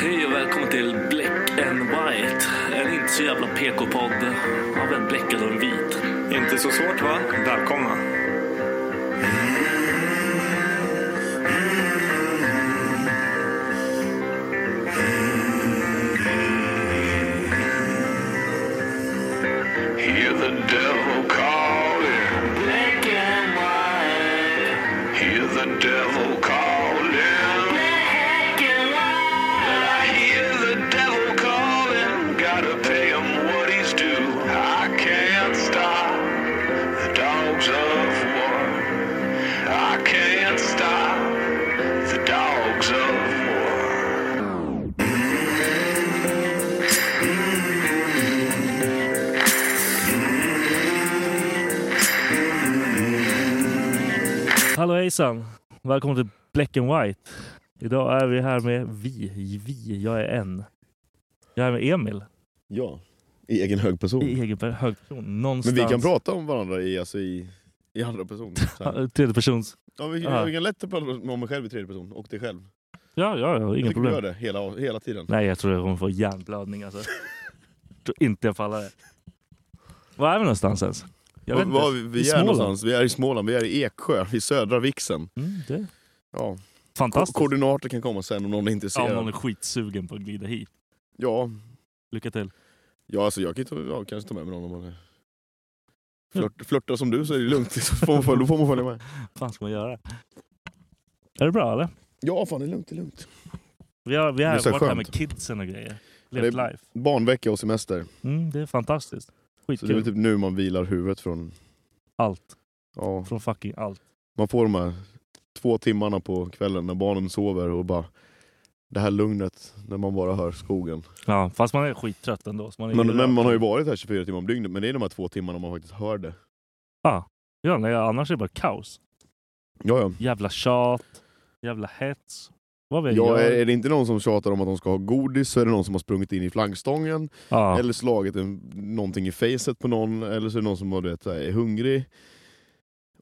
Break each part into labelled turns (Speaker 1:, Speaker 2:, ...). Speaker 1: Hej och välkommen till Black and White. En inte så jävla PK-podd av en bläckad och en vit.
Speaker 2: Inte så svårt va? Välkomna.
Speaker 3: Hear the devil calling. Black and white. Hear the devil calling. Black and white. I hear the devil calling. Gotta pay him what he's due. I can't stop the dogs of war. I can't stop the dogs of war.
Speaker 1: Hallå hejsan. Välkommen till Black and White. Idag är vi här med vi. Vi, jag är en. Jag är med Emil.
Speaker 4: Ja, i egen hög person.
Speaker 1: I egen per- hög person.
Speaker 4: Men
Speaker 1: Någonstans.
Speaker 4: vi kan prata om varandra i, alltså i, i andra person. Så här.
Speaker 1: Eh, Tredje persons.
Speaker 4: Ja, vi,
Speaker 1: Ja.
Speaker 4: vi kan lätt prata om mig själv i tredje person, och dig själv. Jag
Speaker 1: Ja, ja, ja inga
Speaker 4: tycker du gör
Speaker 1: problem.
Speaker 4: det hela, hela tiden.
Speaker 1: Nej, jag tror jag kommer få hjärnblödning alltså. jag tror inte jag faller. Var är vi någonstans ens? Jag
Speaker 4: Var,
Speaker 1: vet
Speaker 4: var vi,
Speaker 1: inte. I
Speaker 4: vi är
Speaker 1: Småland.
Speaker 4: någonstans. Vi är i Småland, vi är i Eksjö, i södra Vixen.
Speaker 1: Mm, det är
Speaker 4: Ja.
Speaker 1: fantastiskt.
Speaker 4: Koordinater kan komma sen om någon är
Speaker 1: Ja,
Speaker 4: intresserad.
Speaker 1: om
Speaker 4: Ja,
Speaker 1: någon är skitsugen på att glida hit.
Speaker 4: ja.
Speaker 1: Lycka till.
Speaker 4: alltså jag kan ju ta, ja, kanske ta med mig någon om man är... Flört, flörtar som du så är det lugnt, så får man, följa- då får man följa med.
Speaker 1: fan ska man göra? Är det bra eller?
Speaker 4: Ja fan det är lugnt, det är lugnt.
Speaker 1: Vi har, vi har
Speaker 4: Det är så
Speaker 1: varit här
Speaker 4: skönt.
Speaker 1: med kidsen och grejer.
Speaker 4: Ja,
Speaker 1: Levt
Speaker 4: det är-
Speaker 1: life.
Speaker 4: Barnvecka och semester.
Speaker 1: Mm, det är fantastiskt.
Speaker 4: Så det är
Speaker 1: Skitkul.
Speaker 4: väl typ nu man vilar huvudet från...
Speaker 1: Allt.
Speaker 4: Ja,
Speaker 1: Från fucking allt.
Speaker 4: Man får de här två timmarna på kvällen när barnen sover och bara det här lugnet när man bara hör skogen.
Speaker 1: Ja, fast man är skittrött ändå. Så man är
Speaker 4: Men,
Speaker 1: ju-
Speaker 4: men man har ju varit här 24 timmar om dygnet, men det är de här två timmarna man faktiskt hör det.
Speaker 1: Ja, nej, annars är det bara kaos.
Speaker 4: Ja, ja.
Speaker 1: Jävla tjat. Jävla hets. Vad vet
Speaker 4: ja
Speaker 1: jag?
Speaker 4: är, är det inte någon som tjatar om att de ska ha godis så är det någon som har sprungit in i flaggstången,
Speaker 1: Ja.
Speaker 4: eller slagit en, någonting i facet på någon, eller så är det någon som har, du vet, så här, är hungrig.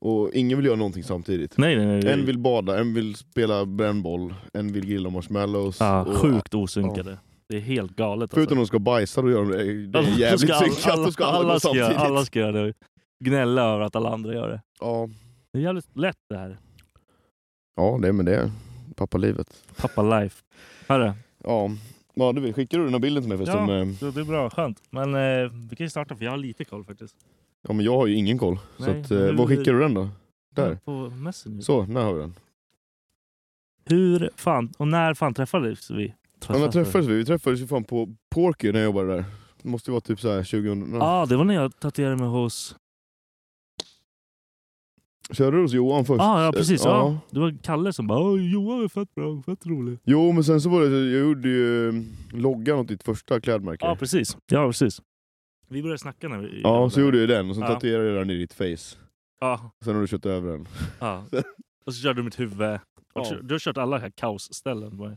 Speaker 4: Och ingen vill göra någonting samtidigt.
Speaker 1: Nej, nej, nej. nej.
Speaker 4: En vill bada, en vill spela brännboll, en vill grilla marshmallows.
Speaker 1: ja,
Speaker 4: och-
Speaker 1: sjukt osynkade. Det är helt galet.
Speaker 4: Förutom de ska bajsa, då gör de det. Det
Speaker 1: Alltså,
Speaker 4: är jävligt
Speaker 1: ska alla-
Speaker 4: synkat, då ska alla,
Speaker 1: alla
Speaker 4: gå
Speaker 1: ska,
Speaker 4: samtidigt.
Speaker 1: göra- alla ska göra det. Gnälla över att alla andra gör det.
Speaker 4: Ja.
Speaker 1: Det är jävligt lätt det här.
Speaker 4: ja, det är med det. Pappalivet.
Speaker 1: Pappa life. Hörru,
Speaker 4: Ja. ja du, skickar du den här bilden till mig förresten?
Speaker 1: Ja.
Speaker 4: Eh,
Speaker 1: det det är bra. Skönt. Men eh, vi kan ju starta för jag har lite koll faktiskt.
Speaker 4: ja, men jag har ju ingen koll. så
Speaker 1: Nej,
Speaker 4: att, eh,
Speaker 1: men
Speaker 4: var
Speaker 1: du-
Speaker 4: skickar du den då? Där.
Speaker 1: På Messenger.
Speaker 4: Så, där har vi den.
Speaker 1: Hur fan, och när fan träffades vi?
Speaker 4: Ja, när träffades vi? Vi träffades ju fan på Porky när jag jobbade där. Det måste ju vara typ så här 2000...
Speaker 1: Ja, ah, det var när jag tatuerade mig hos...
Speaker 5: Körde du hos Johan först?
Speaker 6: Ja, ja precis.
Speaker 5: Ja.
Speaker 6: Ja. Det var Kalle som bara "Åh, Johan är fett bra, fett rolig.
Speaker 5: Jo, men sen så var det, jag gjorde
Speaker 4: eh,
Speaker 5: ju loggan åt ditt första klädmärke.
Speaker 6: Ja precis. ja, precis. Vi började snacka när vi...
Speaker 5: Ja, så gjorde jag den och sen
Speaker 6: Ja.
Speaker 5: tatuerade jag den i ditt face.
Speaker 6: Ja.
Speaker 5: Sen har du kört över den.
Speaker 6: Ja. Och så körde du mitt huvud. Och
Speaker 5: Ja.
Speaker 6: kö- Du har kört alla här kaosställen. bara.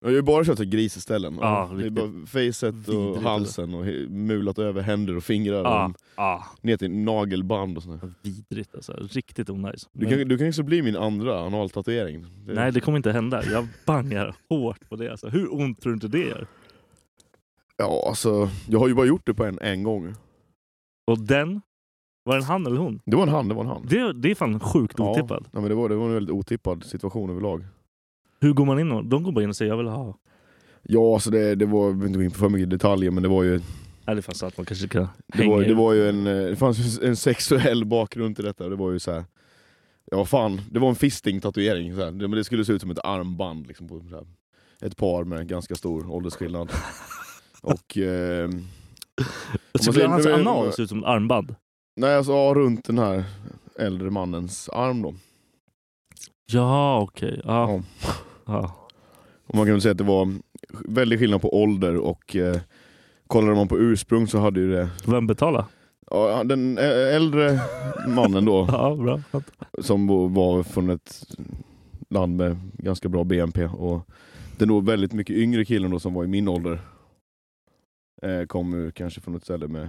Speaker 5: Jag har ju bara kört till grisställen.
Speaker 6: Ja,
Speaker 5: det är
Speaker 6: riktigt
Speaker 5: bara facet och
Speaker 6: vidrigt,
Speaker 5: halsen och he- mulat över händer och fingrar.
Speaker 6: Ja,
Speaker 5: och Ner till nagelband och sådär.
Speaker 6: Vidrigt alltså. Riktigt onajs.
Speaker 5: Du
Speaker 6: Men-
Speaker 5: kan, du kan också bli min andra analtatuering. Det-
Speaker 6: Nej, det kommer inte hända. Jag bangar hårt på det. Alltså. Hur ont tror du inte det gör?
Speaker 5: Ja, alltså, jag har ju bara gjort det på en, en gång.
Speaker 6: Och den? Var det en han eller hon?
Speaker 5: Det var en han, det var en han.
Speaker 6: Det, det är fan sjukt otippat.
Speaker 5: Ja, men det, var, det var en väldigt otippad situation överlag.
Speaker 6: Hur går man in? och- De går bara in och säger jag vill ha.
Speaker 5: Ja, alltså det, det var, jag vill inte gå in på för mycket detaljer, men det var ju
Speaker 6: Nej, det fanns att man kanske kan
Speaker 5: Det
Speaker 6: hänga
Speaker 5: var,
Speaker 6: i
Speaker 5: det var ju en, eh, det fanns ju en sexuell bakgrund till detta, det var ju så här. Ja fan, det var en fisting-tatuering, så här. Det- men det skulle se ut som ett armband liksom, på så här. Ett par med ganska stor åldersskillnad. Och... Eh,
Speaker 6: Och så
Speaker 5: om man
Speaker 6: blir
Speaker 5: ser-
Speaker 6: hans
Speaker 5: men-
Speaker 6: anal ser ut som ett armband.
Speaker 5: Nej alltså ja, runt den här äldre mannens arm då.
Speaker 6: Ja, okej. Ja.
Speaker 5: Ja.
Speaker 6: Ja.
Speaker 5: Och man kan väl säga att det var väldigt skillnad på ålder och eh, kollade man på ursprung så hade ju det...
Speaker 6: Vem betalar?
Speaker 5: Ja, den ä- äldre mannen då
Speaker 6: Ja, bra.
Speaker 5: som bo- var från ett land med ganska bra BNP och den då väldigt mycket yngre killen då som var i min ålder eh, kom ur, kanske från ett ställe med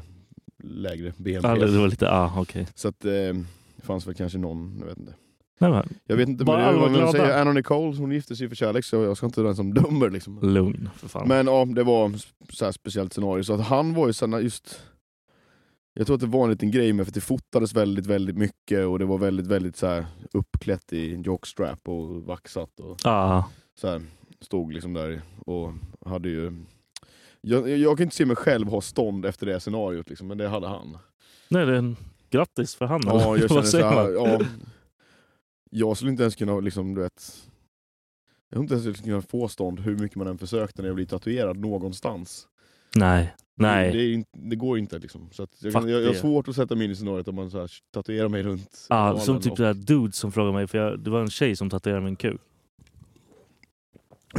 Speaker 5: lägre BNP.
Speaker 6: Ja, det det var lite, ja okej.
Speaker 5: Så att eh, det fanns väl kanske någon, jag vet inte.
Speaker 6: Nej, men,
Speaker 5: Jag vet inte
Speaker 6: Bara
Speaker 5: men
Speaker 6: alla
Speaker 5: det,
Speaker 6: var
Speaker 5: vad man
Speaker 6: glada.
Speaker 5: säger, Anna Nicole hon gifte sig för kärlek så jag ska inte vara den som dömer liksom.
Speaker 6: Lugn för fan.
Speaker 5: Men ja, det var så här speciellt scenario. Så att han var ju sådana just... Jag tror att det var en liten grej med för att det fotades väldigt, väldigt mycket och det var väldigt, väldigt så här uppklätt i jockstrap och vaxat och
Speaker 6: Ja.
Speaker 5: så här. Stod liksom där och hade ju... Jag, jag kan inte se mig själv ha stånd efter det scenariot liksom, men det hade han.
Speaker 6: Nej, det är en... Grattis för han. eller?
Speaker 5: Ja, jag känner
Speaker 6: Vad
Speaker 5: så
Speaker 6: säger
Speaker 5: här,
Speaker 6: man?
Speaker 5: ja, Jag skulle inte ens kunna liksom, du vet... Jag tror inte ens jag skulle kunna få stånd hur mycket man än försökte när jag blev tatuerad någonstans.
Speaker 6: Nej, nej.
Speaker 5: Det, det, är inte, det går inte liksom. Så att jag,
Speaker 6: Fuck
Speaker 5: kan, jag, jag har
Speaker 6: det.
Speaker 5: svårt att sätta mig in i scenariot om man så här, tatuerar mig runt
Speaker 6: Ja,
Speaker 5: analen
Speaker 6: som typ
Speaker 5: och-
Speaker 6: det här dude som frågade mig, för jag, det var en tjej som tatuerade min kuk.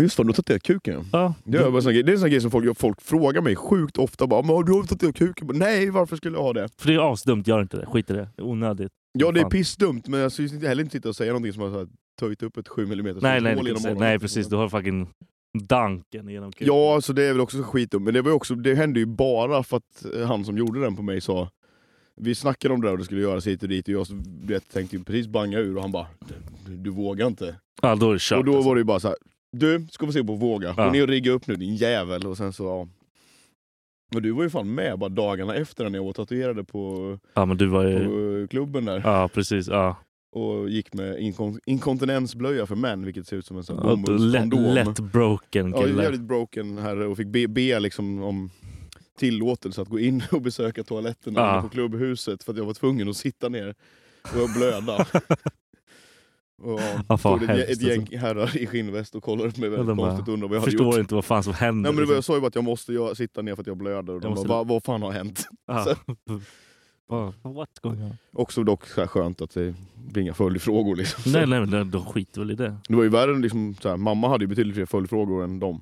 Speaker 5: Just fan, du har tatuerat kuken ja.
Speaker 6: Ja,
Speaker 5: Det är, bara en sån grej, det är en sån grej som folk, folk frågar mig sjukt ofta. Bara, "Men har du har tatuerat kuken? Jag bara, Nej, varför skulle jag ha det?
Speaker 6: för det är asdumt, gör inte det. Skit i det. Det är onödigt.
Speaker 5: Ja, det är
Speaker 6: Fan.
Speaker 5: pissdumt, men jag ska ju inte- heller inte sitta och säga någonting som har så här, töjt upp ett 7 mm
Speaker 6: Nej, nej, det kan jag säga. nej precis. Du har fucking danken genom kuken.
Speaker 5: Ja, så det är väl också skitdumt. Men det, var ju också, det hände ju bara för att eh, han som gjorde den på mig sa vi snackade om det där och det skulle göras hit och dit och jag du vet, tänkte ju precis banga ur och han bara du, du vågar inte.
Speaker 6: Ja, då är det kört.
Speaker 5: Och då
Speaker 6: alltså.
Speaker 5: var det ju bara så här. Du, ska vi se på våga. Gå
Speaker 6: Ja.
Speaker 5: ner och rigga upp nu din jävel. Och sen så, ja. Men du var ju fan med bara dagarna efter när jag var tatuerade på,
Speaker 6: Ja, men du var
Speaker 5: på
Speaker 6: ju...
Speaker 5: eh, klubben där.
Speaker 6: Ja, precis. Ja.
Speaker 5: Och gick med inkon- inkontinensblöja för män, vilket ser ut som en sån här
Speaker 6: Ja, Lätt,
Speaker 5: bomullskondom.
Speaker 6: lätt broken
Speaker 5: ja,
Speaker 6: kille.
Speaker 5: jävligt broken herre och fick be, be liksom om tillåtelse att gå in och besöka toaletterna
Speaker 6: Ja.
Speaker 5: inne på klubbhuset för att jag var tvungen att sitta ner och blöda. Och,
Speaker 6: Ja,
Speaker 5: ja,
Speaker 6: fan,
Speaker 5: stod ett, ett
Speaker 6: hemskt,
Speaker 5: gäng herrar i skinnväst och kollade upp mig
Speaker 6: Ja,
Speaker 5: väldigt
Speaker 6: de bara,
Speaker 5: konstigt och undrade vad jag hade
Speaker 6: förstår
Speaker 5: gjort.
Speaker 6: inte vad fan som händer.
Speaker 5: Nej, men det var, jag
Speaker 6: liksom.
Speaker 5: sa ju bara att jag måste göra- sitta ner för att jag blöder. Och de
Speaker 6: Jag måste-
Speaker 5: bara, "Va- vad fan har hänt?
Speaker 6: Ja. Bara, What's going on?
Speaker 5: Också dock så här skönt att det blir inga följdfrågor. Liksom.
Speaker 6: Nej, nej, nej, de skiter väl i det.
Speaker 5: Det var ju värre, än liksom, så här, mamma hade ju betydligt fler följdfrågor än dem.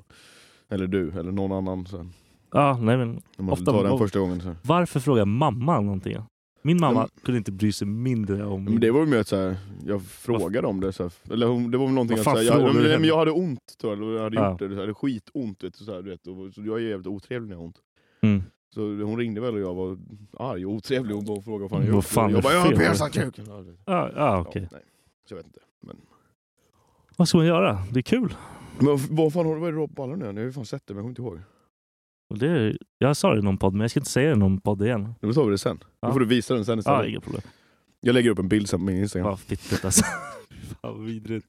Speaker 5: Eller du, eller någon annan. Så här.
Speaker 6: Ja, nej, men
Speaker 5: Man
Speaker 6: Ofta-
Speaker 5: Ofta tar den första gången. Så här.
Speaker 6: varför frågar mamma någonting? Min mamma
Speaker 5: Ja,
Speaker 6: kunde inte bry sig mindre om...
Speaker 5: Men det var ju mer att så här, jag frågade om det. Så här, eller hon, det var väl någonting
Speaker 6: Vad
Speaker 5: att
Speaker 6: fan
Speaker 5: så här, jag,
Speaker 6: frågar
Speaker 5: men,
Speaker 6: du
Speaker 5: nej,
Speaker 6: henne?
Speaker 5: men jag hade ont tror jag. eller Jag hade
Speaker 6: Ja.
Speaker 5: gjort det. Jag hade skitont. Vet, du, så här, du vet, och, så jag är jävligt otrevlig när jag har ont.
Speaker 6: Mm.
Speaker 5: Så hon ringde väl och jag var arg och otrevlig och hon frågade vad fan jag
Speaker 6: Vad
Speaker 5: gjort.
Speaker 6: fan är
Speaker 5: jag bara, jag har
Speaker 6: fel?"
Speaker 5: piercat kuken. Ja, det-
Speaker 6: Ja, ja okej.
Speaker 5: Ja, nej. Så jag vet inte. Men,
Speaker 6: Vad ska man göra? Det är kul.
Speaker 5: men vad fan har du varit i ballen nu? Jag har ju fan sett det men jag kommer inte ihåg.
Speaker 6: Och det är, jag sa det i någon podd, men jag ska inte säga det i någon podd igen.
Speaker 5: Då tar vi det sen.
Speaker 6: Ja.
Speaker 5: Då får du visa den sen
Speaker 6: Ja,
Speaker 5: istället.
Speaker 6: inga problem.
Speaker 5: jag lägger upp en bild sen på min Instagram.
Speaker 6: Vad fittigt alltså. Fan vad vidrigt.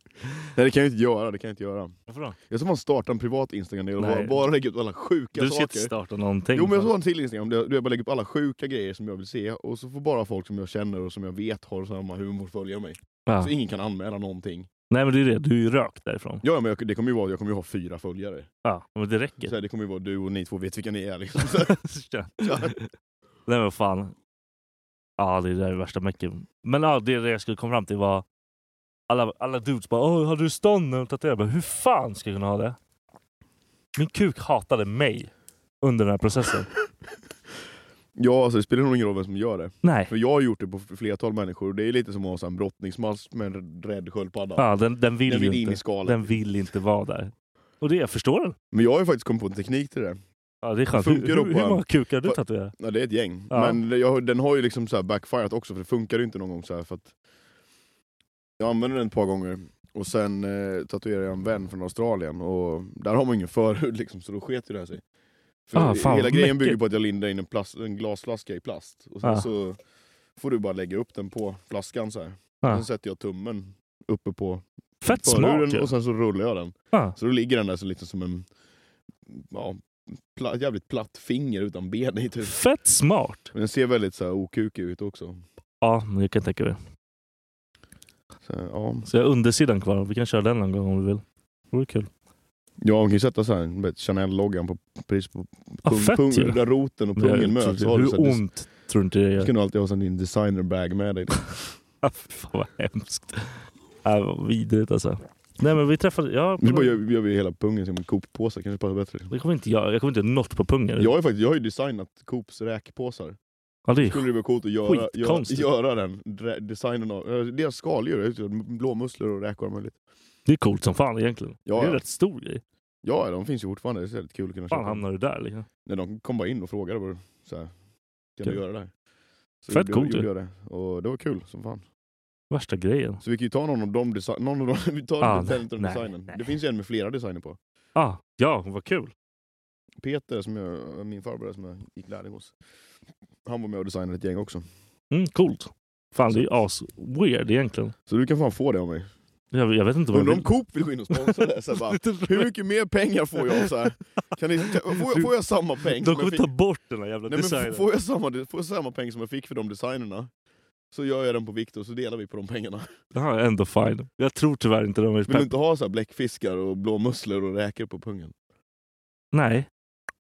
Speaker 5: Nej det kan jag inte göra, det kan jag inte göra.
Speaker 6: Varför då?
Speaker 5: Jag ska fan starta en privat Instagram-del och bara,
Speaker 6: Nej.
Speaker 5: bara lägga upp alla sjuka
Speaker 6: Du ska inte
Speaker 5: saker.
Speaker 6: starta någonting.
Speaker 5: Jo men jag ska ha en till Instagram där jag- där jag bara lägger upp alla sjuka grejer som jag vill se och så får bara folk som jag känner och som jag vet har samma humor följa mig.
Speaker 6: ja.
Speaker 5: Så ingen kan anmäla någonting.
Speaker 6: Nej men det är det, du är ju rökt därifrån.
Speaker 5: Ja men jag, det kommer ju vara, jag kommer ju ha fyra följare.
Speaker 6: Ja, men det räcker.
Speaker 5: Så här, det kommer ju vara du och ni två vet vilka ni är liksom. Så
Speaker 6: Så kör.
Speaker 5: här.
Speaker 6: Nej men vad fan. Ja, det är det där värsta mecken. Men ja, det, det jag skulle komma fram till var alla, alla dudes bara Åh, har du stånd när du tatuerar?" Jag bara, Hur fan ska jag kunna ha det? Min kuk hatade mig under den här processen.
Speaker 5: Ja, alltså, det spelar nog ingen roll vem som gör det.
Speaker 6: Nej.
Speaker 5: För jag har gjort det på flertal människor och det är lite som att ha så här en brottningsmask med en rädd sköldpadda.
Speaker 6: Ja, den, den vill
Speaker 5: Den
Speaker 6: ju
Speaker 5: vill in
Speaker 6: inte.
Speaker 5: i skalet.
Speaker 6: Den vill inte vara där. Och det, jag förstår den.
Speaker 5: Men jag har ju faktiskt kommit på en teknik till det.
Speaker 6: Ja, det är skönt.
Speaker 5: Funkar
Speaker 6: Hur,
Speaker 5: då
Speaker 6: hur,
Speaker 5: på
Speaker 6: hur
Speaker 5: en-
Speaker 6: många kukar har du
Speaker 5: på-
Speaker 6: tatuerat?
Speaker 5: Ja, det är ett gäng.
Speaker 6: Ja.
Speaker 5: Men det- jag, har- den har ju liksom så här backfired också för det funkar ju inte någon gång så här för att Jag använde den ett par gånger och sen eh, tatuerade jag en vän från Australien och där har man ingen förhud liksom så då sket ju det här sig. För
Speaker 6: Ah, fan,
Speaker 5: hela
Speaker 6: vad
Speaker 5: grejen
Speaker 6: mäckigt.
Speaker 5: bygger på att jag lindar in en, plast, en glasflaska i plast och sen
Speaker 6: Ah.
Speaker 5: så får du bara lägga upp den på flaskan så här.
Speaker 6: Ah.
Speaker 5: Sen sätter jag tummen uppe på
Speaker 6: Fett smart
Speaker 5: förhuden
Speaker 6: ju.
Speaker 5: och sen så rullar jag den.
Speaker 6: Ja.
Speaker 5: Så då ligger den där så lite som en ja, pla, jävligt platt finger utan ben i typ.
Speaker 6: Fett smart!
Speaker 5: Men den ser väldigt så här okukig ut också.
Speaker 6: Ja, men jag kan tänka mig.
Speaker 5: Så, här, ja.
Speaker 6: Så jag har undersidan kvar. Vi kan köra den någon gång om du vill. Det vore kul.
Speaker 5: ja, man kan ju sätta så här, du vet, Chanel-loggan på, precis på
Speaker 6: Ja,
Speaker 5: pung,
Speaker 6: fett
Speaker 5: pung,
Speaker 6: ju.
Speaker 5: där roten och
Speaker 6: Men jag
Speaker 5: pungen
Speaker 6: tror
Speaker 5: möts.
Speaker 6: inte-
Speaker 5: Så har du så
Speaker 6: Hur
Speaker 5: här, dis-
Speaker 6: ont tror du inte det
Speaker 5: du
Speaker 6: gör?
Speaker 5: ska nog alltid ha sån din designer-bag med dig.
Speaker 6: Ah, fy Fan vad hemskt. Äh, vad vidrigt alltså. Nej men vi träffade... Ja,
Speaker 5: Nu bara gör, gör vi hela pungen som en Coop-påse, kanske passar bättre.
Speaker 6: det kommer inte Mm. jag. Jag kommer inte göra något på pungen.
Speaker 5: Jag har ju faktiskt jag har ju designat Coops räkpåsar.
Speaker 6: ja, det är
Speaker 5: Skulle det vara coolt att göra, göra,
Speaker 6: Skitkonstigt.
Speaker 5: göra den dre- designen av... eh, Deras skaldjur, jag vet inte, blåmusslor och räkor och allt möjligt.
Speaker 6: Det är coolt som fan egentligen.
Speaker 5: Ja,
Speaker 6: det är en
Speaker 5: ja.
Speaker 6: rätt stor grej.
Speaker 5: Ja, de finns ju fortfarande. Det är väldigt kul att kunna
Speaker 6: fan
Speaker 5: köpa.
Speaker 6: hamnar du där liksom?
Speaker 5: När de kom bara in och frågade bara, så här, kan
Speaker 6: Kul.
Speaker 5: du göra det här? Så
Speaker 6: Fett
Speaker 5: gjorde,
Speaker 6: coolt ju.
Speaker 5: gjorde jag det. Och det var kul som fan.
Speaker 6: Värsta grejen.
Speaker 5: Så vi kan ju ta någon av dem, desi- någon av dem, vi tar
Speaker 6: Ah,
Speaker 5: ah, den
Speaker 6: nej,
Speaker 5: designen.
Speaker 6: nej.
Speaker 5: Det finns ju en med flera designer på.
Speaker 6: Ah, ja, vad kul.
Speaker 5: Peter, som jag, min farbror som jag gick lärling hos, han var med och designade ett gäng också.
Speaker 6: Mm, coolt. Fan det är ju as-weird egentligen.
Speaker 5: Så du kan fan få det av mig.
Speaker 6: Jag, jag vet inte vad
Speaker 5: Undrar
Speaker 6: jag
Speaker 5: om Coop vill gå in och sponsra det? Så här, bara, hur mycket mer pengar får jag? Så här, kan ni, kan, får, jag får jag samma peng?
Speaker 6: De
Speaker 5: som jag
Speaker 6: kommer
Speaker 5: fick-
Speaker 6: ta bort den här
Speaker 5: Nej,
Speaker 6: jävla
Speaker 5: men
Speaker 6: designen.
Speaker 5: f- får, jag samma, får jag samma peng som jag fick för de designerna, så gör jag den på Viktor så delar vi på de pengarna.
Speaker 6: Det här är ändå fine. Jag tror tyvärr inte de är
Speaker 5: Vill du
Speaker 6: pepp.
Speaker 5: inte ha så här bläckfiskar och blåmusslor och räkor på pungen?
Speaker 6: Nej.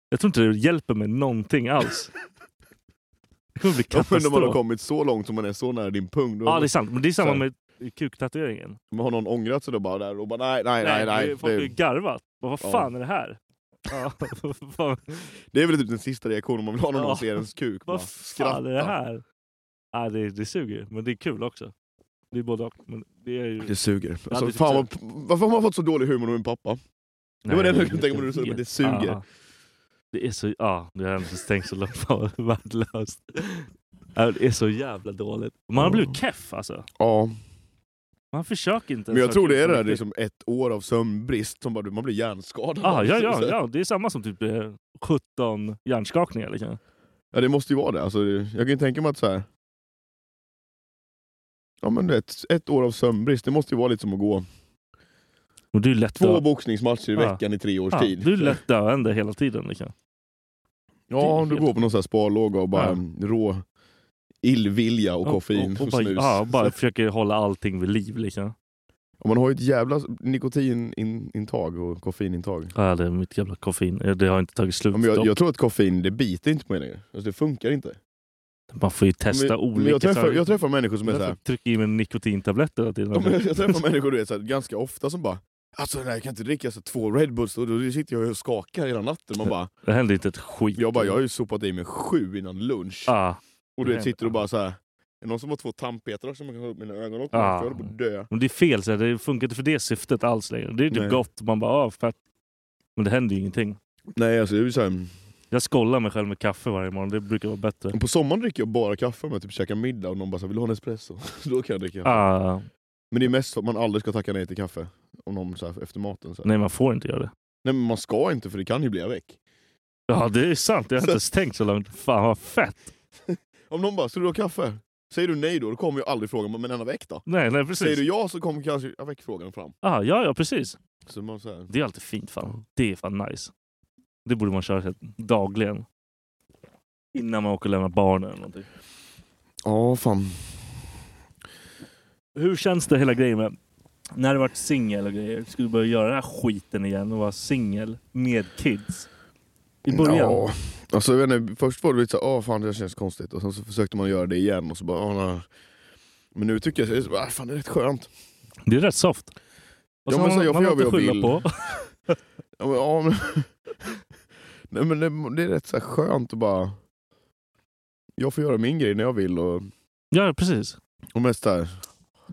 Speaker 6: Jag tror inte det hjälper mig någonting alls. Det kommer bli
Speaker 5: Jag undrar om man har
Speaker 6: katastrof.
Speaker 5: kommit så långt som man är så nära din pung. Då
Speaker 6: Ja, det är sant. Men det är samma
Speaker 5: Så här.
Speaker 6: med kuktatueringen.
Speaker 5: har någon ångrat sig då bara där och bara nej, nej, nej. nej,
Speaker 6: Folk har ju
Speaker 5: Det,
Speaker 6: garvat. Bara, Vad
Speaker 5: Ja.
Speaker 6: fan är det här? Ja, vad fan-
Speaker 5: det är väl typ den sista reaktionen man vill ha när någon
Speaker 6: Ja.
Speaker 5: ser ens kuk. bara
Speaker 6: vad fan är det
Speaker 5: skratta.
Speaker 6: här? Ja, det, det suger ju, men det är kul också. Det är både och. Men det är ju...
Speaker 5: Det suger. Alltså,
Speaker 6: det är typ
Speaker 5: fan,
Speaker 6: så
Speaker 5: vad, varför har man fått så dålig humor av min pappa? det var det jag tänkte på när du sa det, men det suger.
Speaker 6: Ja. Det är så... Ja, det har inte stängt så långt. Fan, vad Värdelöst. Ja, Det är så jävla dåligt. Man har blivit keff alltså.
Speaker 5: Ja.
Speaker 6: Man försöker inte.
Speaker 5: Men jag
Speaker 6: ens
Speaker 5: tror
Speaker 6: vara
Speaker 5: det är
Speaker 6: keff
Speaker 5: det
Speaker 6: på
Speaker 5: där
Speaker 6: riktigt.
Speaker 5: liksom ett år av sömnbrist som bara, man blir hjärnskadad.
Speaker 6: Ah, ja, ja,
Speaker 5: Så här.
Speaker 6: ja, det är samma som typ eh, 17 hjärnskakningar. Liksom.
Speaker 5: Ja det måste ju vara det. Alltså, det- jag kan ju tänka mig att så här. Ja men ett, ett år av sömnbrist, det måste ju vara lite som att gå
Speaker 6: Och du är lätt
Speaker 5: två
Speaker 6: dö-
Speaker 5: boxningsmatcher i
Speaker 6: Ja.
Speaker 5: veckan i tre års
Speaker 6: Ja,
Speaker 5: tid.
Speaker 6: du är lätt döende hela tiden. Liksom. det är
Speaker 5: ja, om du
Speaker 6: helt-
Speaker 5: går på någon så här sparlåga och bara
Speaker 6: Ja.
Speaker 5: mm, rå illvilja och koffein och,
Speaker 6: och, bara,
Speaker 5: snus.
Speaker 6: Ja, bara försöker hålla allting vid liv. Liksom.
Speaker 5: Och man har ju ett jävla nikotinintag och koffeinintag.
Speaker 6: Ja, det är mitt jävla koffein. Eh, Det har inte tagit slut.
Speaker 5: Ja, men jag,
Speaker 6: dock.
Speaker 5: jag tror att koffein, det biter inte på mig längre. Alltså det funkar inte.
Speaker 6: Man får ju testa
Speaker 5: men,
Speaker 6: olika
Speaker 5: men jag, träffar,
Speaker 6: saker.
Speaker 5: jag träffar människor som är
Speaker 6: Därför
Speaker 5: såhär,
Speaker 6: trycker jag i mig nikotintabletter hela tiden.
Speaker 5: Ja, men jag träffar människor du vet, så här, ganska ofta som bara Alltså den här, jag kan inte dricka så två Red Bulls, och då sitter jag och skakar hela natten. Man bara,
Speaker 6: Det händer inte ett skit.
Speaker 5: jag bara, jag har ju sopat i mig sju innan lunch.
Speaker 6: ah,
Speaker 5: och du
Speaker 6: det-
Speaker 5: vet, sitter och bara så här. Är det någon som har två tandpetare som man kan ha upp mina ögon åt?
Speaker 6: Ah.
Speaker 5: Jag håller på att dö.
Speaker 6: men det är fel. Så här, det funkar inte för det syftet alls längre. Det är ju
Speaker 5: Nej.
Speaker 6: typ gott. Man bara, ah, fett. Men det händer ju ingenting.
Speaker 5: Nej, alltså, det är ju så här,
Speaker 6: Jag skollar mig själv med kaffe varje morgon. Det brukar vara bättre.
Speaker 5: på sommaren dricker jag bara kaffe om jag typ käkar middag och någon bara så här, vill du ha en espresso? då kan jag dricka kaffe.
Speaker 6: Ah,
Speaker 5: Men det är mest för att man aldrig ska tacka nej till kaffe. Om någon så här, efter maten. Så här.
Speaker 6: nej, man får inte göra det.
Speaker 5: nej men man ska inte för det kan ju bli väck.
Speaker 6: Ja, det är sant. Jag har inte ens tänkt så långt. Fan vad fett.
Speaker 5: Om någon bara, ska du ha kaffe? Säger du nej då, då kommer jag aldrig fråga, men en väck då?
Speaker 6: Nej, nej
Speaker 5: Säger du
Speaker 6: precis.
Speaker 5: ja så kommer kanske ja, väckfrågan fram.
Speaker 6: Ah, ja, ja, precis.
Speaker 5: Så man så här,
Speaker 6: Det är alltid fint fan. Det är fan nice. Det borde man köra så här dagligen. Innan man åker och lämnar barnen eller någonting.
Speaker 5: ja fan.
Speaker 6: Hur känns det hela grejen med när du varit singel och grejer? Skulle du börja göra den här skiten igen och vara singel med kids? I början?
Speaker 5: Ja. Alltså, jag vet inte, först var det lite såhär, åh fan det där känns konstigt, och sen så försökte man göra det igen och så bara, åh, nej. Men nu tycker jag, så- ah, fan det är rätt skönt.
Speaker 6: Det är rätt soft. Och
Speaker 5: Ja,
Speaker 6: så
Speaker 5: men
Speaker 6: har
Speaker 5: så jag får
Speaker 6: har
Speaker 5: göra vad
Speaker 6: inte
Speaker 5: jag
Speaker 6: skylla
Speaker 5: vill.
Speaker 6: På.
Speaker 5: Ja, men, ja, men... Nej, men det, det är rätt så här skönt att bara... Jag får göra min grej när jag vill och,
Speaker 6: Ja, precis.
Speaker 5: och mest där.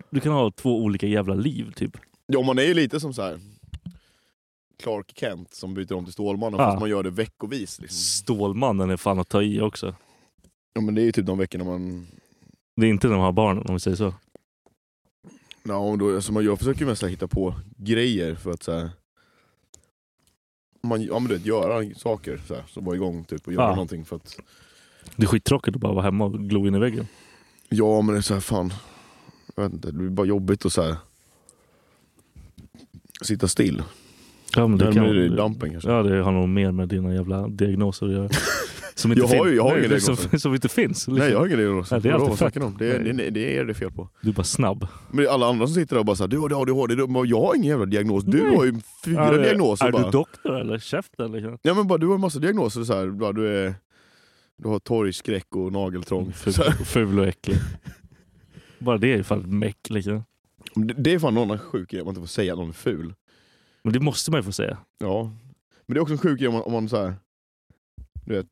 Speaker 6: Du kan ha två olika jävla liv typ.
Speaker 5: Ja, man är ju lite som så här Clark Kent som byter om till Stålmannen
Speaker 6: Ja.
Speaker 5: fast man gör det veckovis. Liksom.
Speaker 6: Stålmannen är fan att ta i också.
Speaker 5: Ja, men det är ju typ de veckorna man...
Speaker 6: Det är inte när man har barn om vi säger så.
Speaker 5: Ja, och då, alltså, man jag försöker ju mest så här, hitta på grejer för att så här, man, ja, men du vet, göra saker. Så, här, så vara igång typ, och göra
Speaker 6: Ja.
Speaker 5: någonting. För att,
Speaker 6: Det är skittråkigt att bara vara hemma och glo in i väggen.
Speaker 5: ja, men det är så här, fan. Jag vet inte, det blir bara jobbigt att så här, sitta still.
Speaker 6: Ja, men
Speaker 5: Där
Speaker 6: det kan,
Speaker 5: blir det dampen kanske.
Speaker 6: ja, det har nog mer med dina jävla diagnoser att göra. Som
Speaker 5: Jag har ju- jag har
Speaker 6: Nej,
Speaker 5: ingen
Speaker 6: det är som,
Speaker 5: diagnoser.
Speaker 6: som inte finns. liksom.
Speaker 5: Nej jag har ingen diagnos.
Speaker 6: Ja, det är
Speaker 5: Vadå,
Speaker 6: alltid
Speaker 5: vad
Speaker 6: fett.
Speaker 5: snackar ni om? Det är, det, är- det är det fel på.
Speaker 6: Du är bara snabb.
Speaker 5: Men alla andra som sitter där och bara såhär, du har ADHD, du, bara, jag har ingen jävla diagnos. Du
Speaker 6: Nej.
Speaker 5: har ju fyra
Speaker 6: är,
Speaker 5: diagnoser
Speaker 6: Är
Speaker 5: bara.
Speaker 6: du doktor eller käften? Liksom?
Speaker 5: Ja men bara, du har en massa diagnoser. Så här, bara, du, är, du har torgskräck och nageltrång. Så här,
Speaker 6: Ful, ful och äcklig. Bara det är ju fan meck liksom.
Speaker 5: det, det är fan någon sjuk grej, att man inte får säga att någon är ful.
Speaker 6: Men det måste man ju få säga.
Speaker 5: Ja. Men det är också en sjuk grej om man, om man såhär, du vet.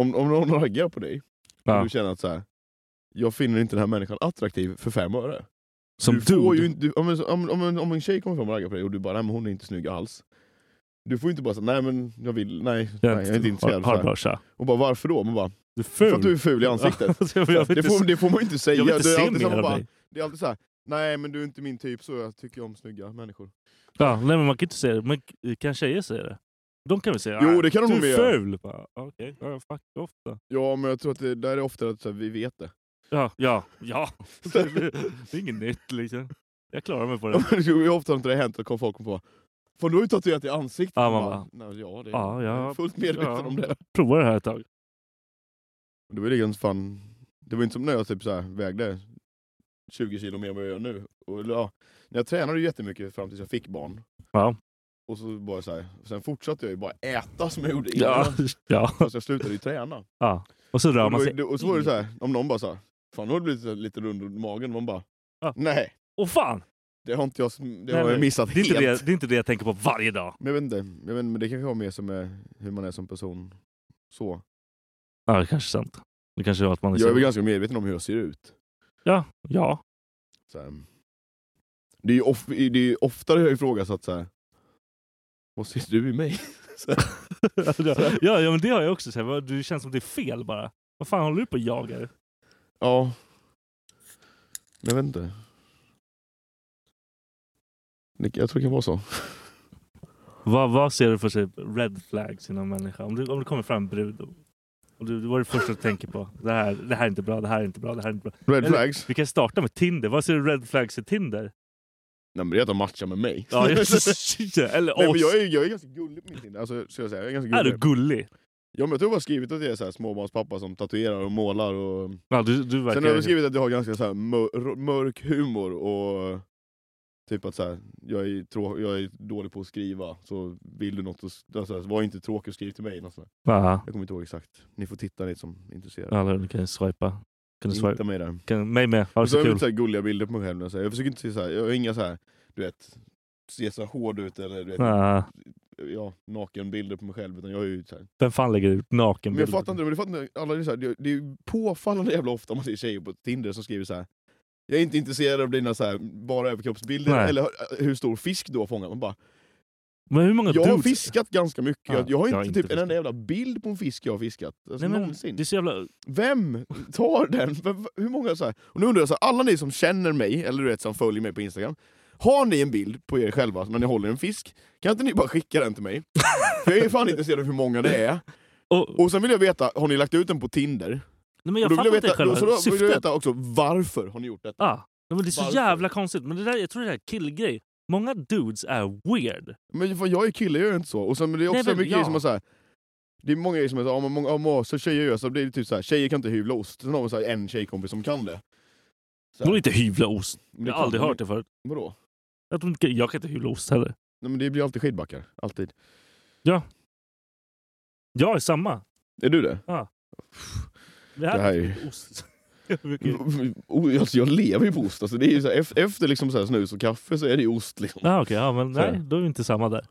Speaker 5: Om, om någon raggar på dig
Speaker 6: Ja.
Speaker 5: och du känner att så här, jag finner inte den här människan attraktiv för fem öre.
Speaker 6: Som
Speaker 5: du får ju inte, du, om, en, om, om, en, om en tjej kommer fram och raggar på dig och du bara nej men hon är inte snygg alls. Du får ju inte bara säga nej men jag vill, nej, nej jag är inte
Speaker 6: har,
Speaker 5: intresserad.
Speaker 6: har
Speaker 5: Har,
Speaker 6: bra tja.
Speaker 5: och bara varför då? Man bara,
Speaker 6: Du är ful.
Speaker 5: för att du är ful i ansiktet.
Speaker 6: Ja, jag vill
Speaker 5: det,
Speaker 6: inte
Speaker 5: får,
Speaker 6: se-
Speaker 5: det får man ju inte säga.
Speaker 6: jag vill
Speaker 5: det,
Speaker 6: inte
Speaker 5: är
Speaker 6: se
Speaker 5: alltid så
Speaker 6: mer
Speaker 5: här, man
Speaker 6: av
Speaker 5: bara,
Speaker 6: dig.
Speaker 5: det är alltid så här, nej men du är inte min typ så jag tycker om snygga människor.
Speaker 6: Ja, nej, men man kan inte säga det. Men k- kan tjejer säga det? De kan väl säga
Speaker 5: Jo,
Speaker 6: "Nej,
Speaker 5: det kan de
Speaker 6: Du
Speaker 5: nog
Speaker 6: är
Speaker 5: göra."
Speaker 6: ful! Bara, Okej, ja, fuck off då.
Speaker 5: Ja men jag tror att det där är ofta att så här, vi vet det.
Speaker 6: Ja, ja, ja. Det är inget nytt liksom. Jag klarar mig på
Speaker 5: Ja,
Speaker 6: det.
Speaker 5: men det är ju ofta har inte det hänt att kom folk och bara Fan du har ju tatuerat i ansiktet.
Speaker 6: Ja, man
Speaker 5: nej, ja, det,
Speaker 6: Ja, ja.
Speaker 5: jag är fullt medveten
Speaker 6: Ja.
Speaker 5: om det.
Speaker 6: Prova det här ett tag.
Speaker 5: Det var ju liksom fan, det var inte som när jag typ så här vägde 20 kilo mer än vad jag gör nu. Och, eller ja, när jag tränade ju jättemycket fram tills jag fick barn.
Speaker 6: Ja.
Speaker 5: Och så bara så här, sen fortsatte jag ju bara äta som jag gjorde innan.
Speaker 6: Ja, ja.
Speaker 5: Fast jag slutade ju träna.
Speaker 6: ja. Och så rör
Speaker 5: och,
Speaker 6: man
Speaker 5: då,
Speaker 6: sig.
Speaker 5: det- och så var det så här, om någon bara så här, fan nu har du blivit så här lite rund runt magen. Man bara,
Speaker 6: Ja.
Speaker 5: nej,
Speaker 6: Åh fan!
Speaker 5: det har inte jag, sm- det
Speaker 6: Nej,
Speaker 5: har jag
Speaker 6: men
Speaker 5: missat
Speaker 6: Det är, inte
Speaker 5: helt.
Speaker 6: det, det är inte det jag tänker på varje dag.
Speaker 5: Men jag vet inte, jag vet, inte, men det kanske har mer som med hur man är som person. Så.
Speaker 6: Ja, det kanske är sant. Det kanske är att man är
Speaker 5: Jag är
Speaker 6: så-
Speaker 5: väl ganska medveten om hur jag ser ut.
Speaker 6: Ja, ja.
Speaker 5: Så här. Det är ju of, det är ju oftare jag ifrågasatt så här. Vad ser du i mig? Så här.
Speaker 6: ja, ja, men det har jag också. Så här, vad- du känns som det är fel bara. Vad fan håller du på och jagar?
Speaker 5: Ja. Men Jag vet inte. Det- Jag tror det kan vara så.
Speaker 6: Vad, vad ser du för sig red flags inom människa? Om du, om du kommer fram en brud och, och du, vad är det första du tänker på? Det här, det här är inte bra, det här är inte bra, det här är inte bra.
Speaker 5: Red
Speaker 6: Eller-
Speaker 5: flags?
Speaker 6: Vi kan starta med Tinder. Vad ser du red flags i Tinder?
Speaker 5: Nej men det är att de matchar med mig.
Speaker 6: Ja,
Speaker 5: Nej,
Speaker 6: eller oss.
Speaker 5: men jag, är, jag är ganska gullig på min Tinder. Alltså, ska jag säga. Jag är ganska
Speaker 6: är
Speaker 5: gullig.
Speaker 6: du gullig?
Speaker 5: Ja, men jag tror jag har skrivit att jag är så här småbarnspappa som tatuerar och målar. Och...
Speaker 6: Ja, du, du verkar...
Speaker 5: Sen har jag skrivit att jag har ganska så här mör- mörk humor och typ att så här, jag, är trå- jag är dålig på att skriva, så vill du något så s- alltså, var inte tråkig och skriv till mig. Något sånt där.
Speaker 6: Ja,
Speaker 5: jag kommer inte ihåg exakt, ni får titta ni som är intresserade.
Speaker 6: eller du kan ju swipa. Kan du
Speaker 5: Ni hittar
Speaker 6: swipa?
Speaker 5: mig där.
Speaker 6: Kan, mig med. Ha det
Speaker 5: Och så
Speaker 6: så
Speaker 5: har jag
Speaker 6: kul.
Speaker 5: lite så här gulliga bilder på mig själv. Så här. Jag försöker inte se så här, jag har inga så här, du vet, se så här hård ut eller du vet,
Speaker 6: Ja,
Speaker 5: ja, nakenbilder på mig själv. Utan jag är ju så här.
Speaker 6: vem fan lägger ut
Speaker 5: Men jag
Speaker 6: nakenbilder?
Speaker 5: fattar inte, men det, fattar inte alla, det, är så här, det, det är ju påfallande jävla ofta man ser tjejer på Tinder som skriver så här. Jag är inte intresserad av dina så här, bara överkroppsbilder
Speaker 6: Nej.
Speaker 5: eller hur- hur stor fisk du har fångat. Man bara,
Speaker 6: Men hur många
Speaker 5: jag har
Speaker 6: dudes-
Speaker 5: fiskat ganska mycket,
Speaker 6: Ja,
Speaker 5: jag, jag har inte, typ en
Speaker 6: fiskat.
Speaker 5: enda jävla bild på en fisk jag har fiskat. Alltså,
Speaker 6: Nej, men
Speaker 5: någonsin.
Speaker 6: Det är så jävla...
Speaker 5: Vem tar den? Vem, hur många så här? Och nu undrar jag, så här, alla ni som känner mig, eller du vet som följer mig på Instagram. Har ni en bild på er själva när ni håller en fisk? Kan inte ni bara skicka den till mig? För jag är fan intresserad av hur många det är.
Speaker 6: Och,
Speaker 5: Och sen vill jag veta, har ni lagt ut den på Tinder?
Speaker 6: nej, men
Speaker 5: Och
Speaker 6: jag
Speaker 5: då
Speaker 6: fattar
Speaker 5: vill jag
Speaker 6: inte
Speaker 5: veta,
Speaker 6: själva
Speaker 5: då, så då vill jag
Speaker 6: syftet.
Speaker 5: veta också, varför har ni gjort detta?
Speaker 6: Ja. Nej, men det är så
Speaker 5: Varför?
Speaker 6: jävla konstigt. Men det där, jag tror det där är killgrej. Många dudes är weird.
Speaker 5: Men fan, jag är kille, jag är inte så. Och sen men det är också
Speaker 6: Nej, men
Speaker 5: mycket
Speaker 6: ja.
Speaker 5: grejer som är såhär... Det är många grejer som är såhär, ja, men många, ja, men så tjejer gör så, det är typ såhär, tjejer kan inte hyvla ost. Sen har man så här, en tjejkompis som kan det. Så här,
Speaker 6: De vill inte hyvla ost.
Speaker 5: men det
Speaker 6: Jag har
Speaker 5: kan
Speaker 6: aldrig
Speaker 5: de
Speaker 6: hört
Speaker 5: inte.
Speaker 6: det förut.
Speaker 5: Vadå?
Speaker 6: Jag, tror inte, jag kan inte hyvla ost heller.
Speaker 5: Nej, men det blir alltid skidbackar. Alltid.
Speaker 6: Jag är samma.
Speaker 5: Är du det?
Speaker 6: Ja. Det
Speaker 5: Det
Speaker 6: här,
Speaker 5: här är ju...
Speaker 6: ost. Jag brukar ju...
Speaker 5: O- Alltså, jag lever ju på ost. Alltså, det är ju så här, ef- efter liksom så här snus och kaffe så är det ju ost. Liksom.
Speaker 6: Ja, Ah, okej, ja, men
Speaker 5: Så är
Speaker 6: nej,
Speaker 5: det.
Speaker 6: då är vi inte samma där.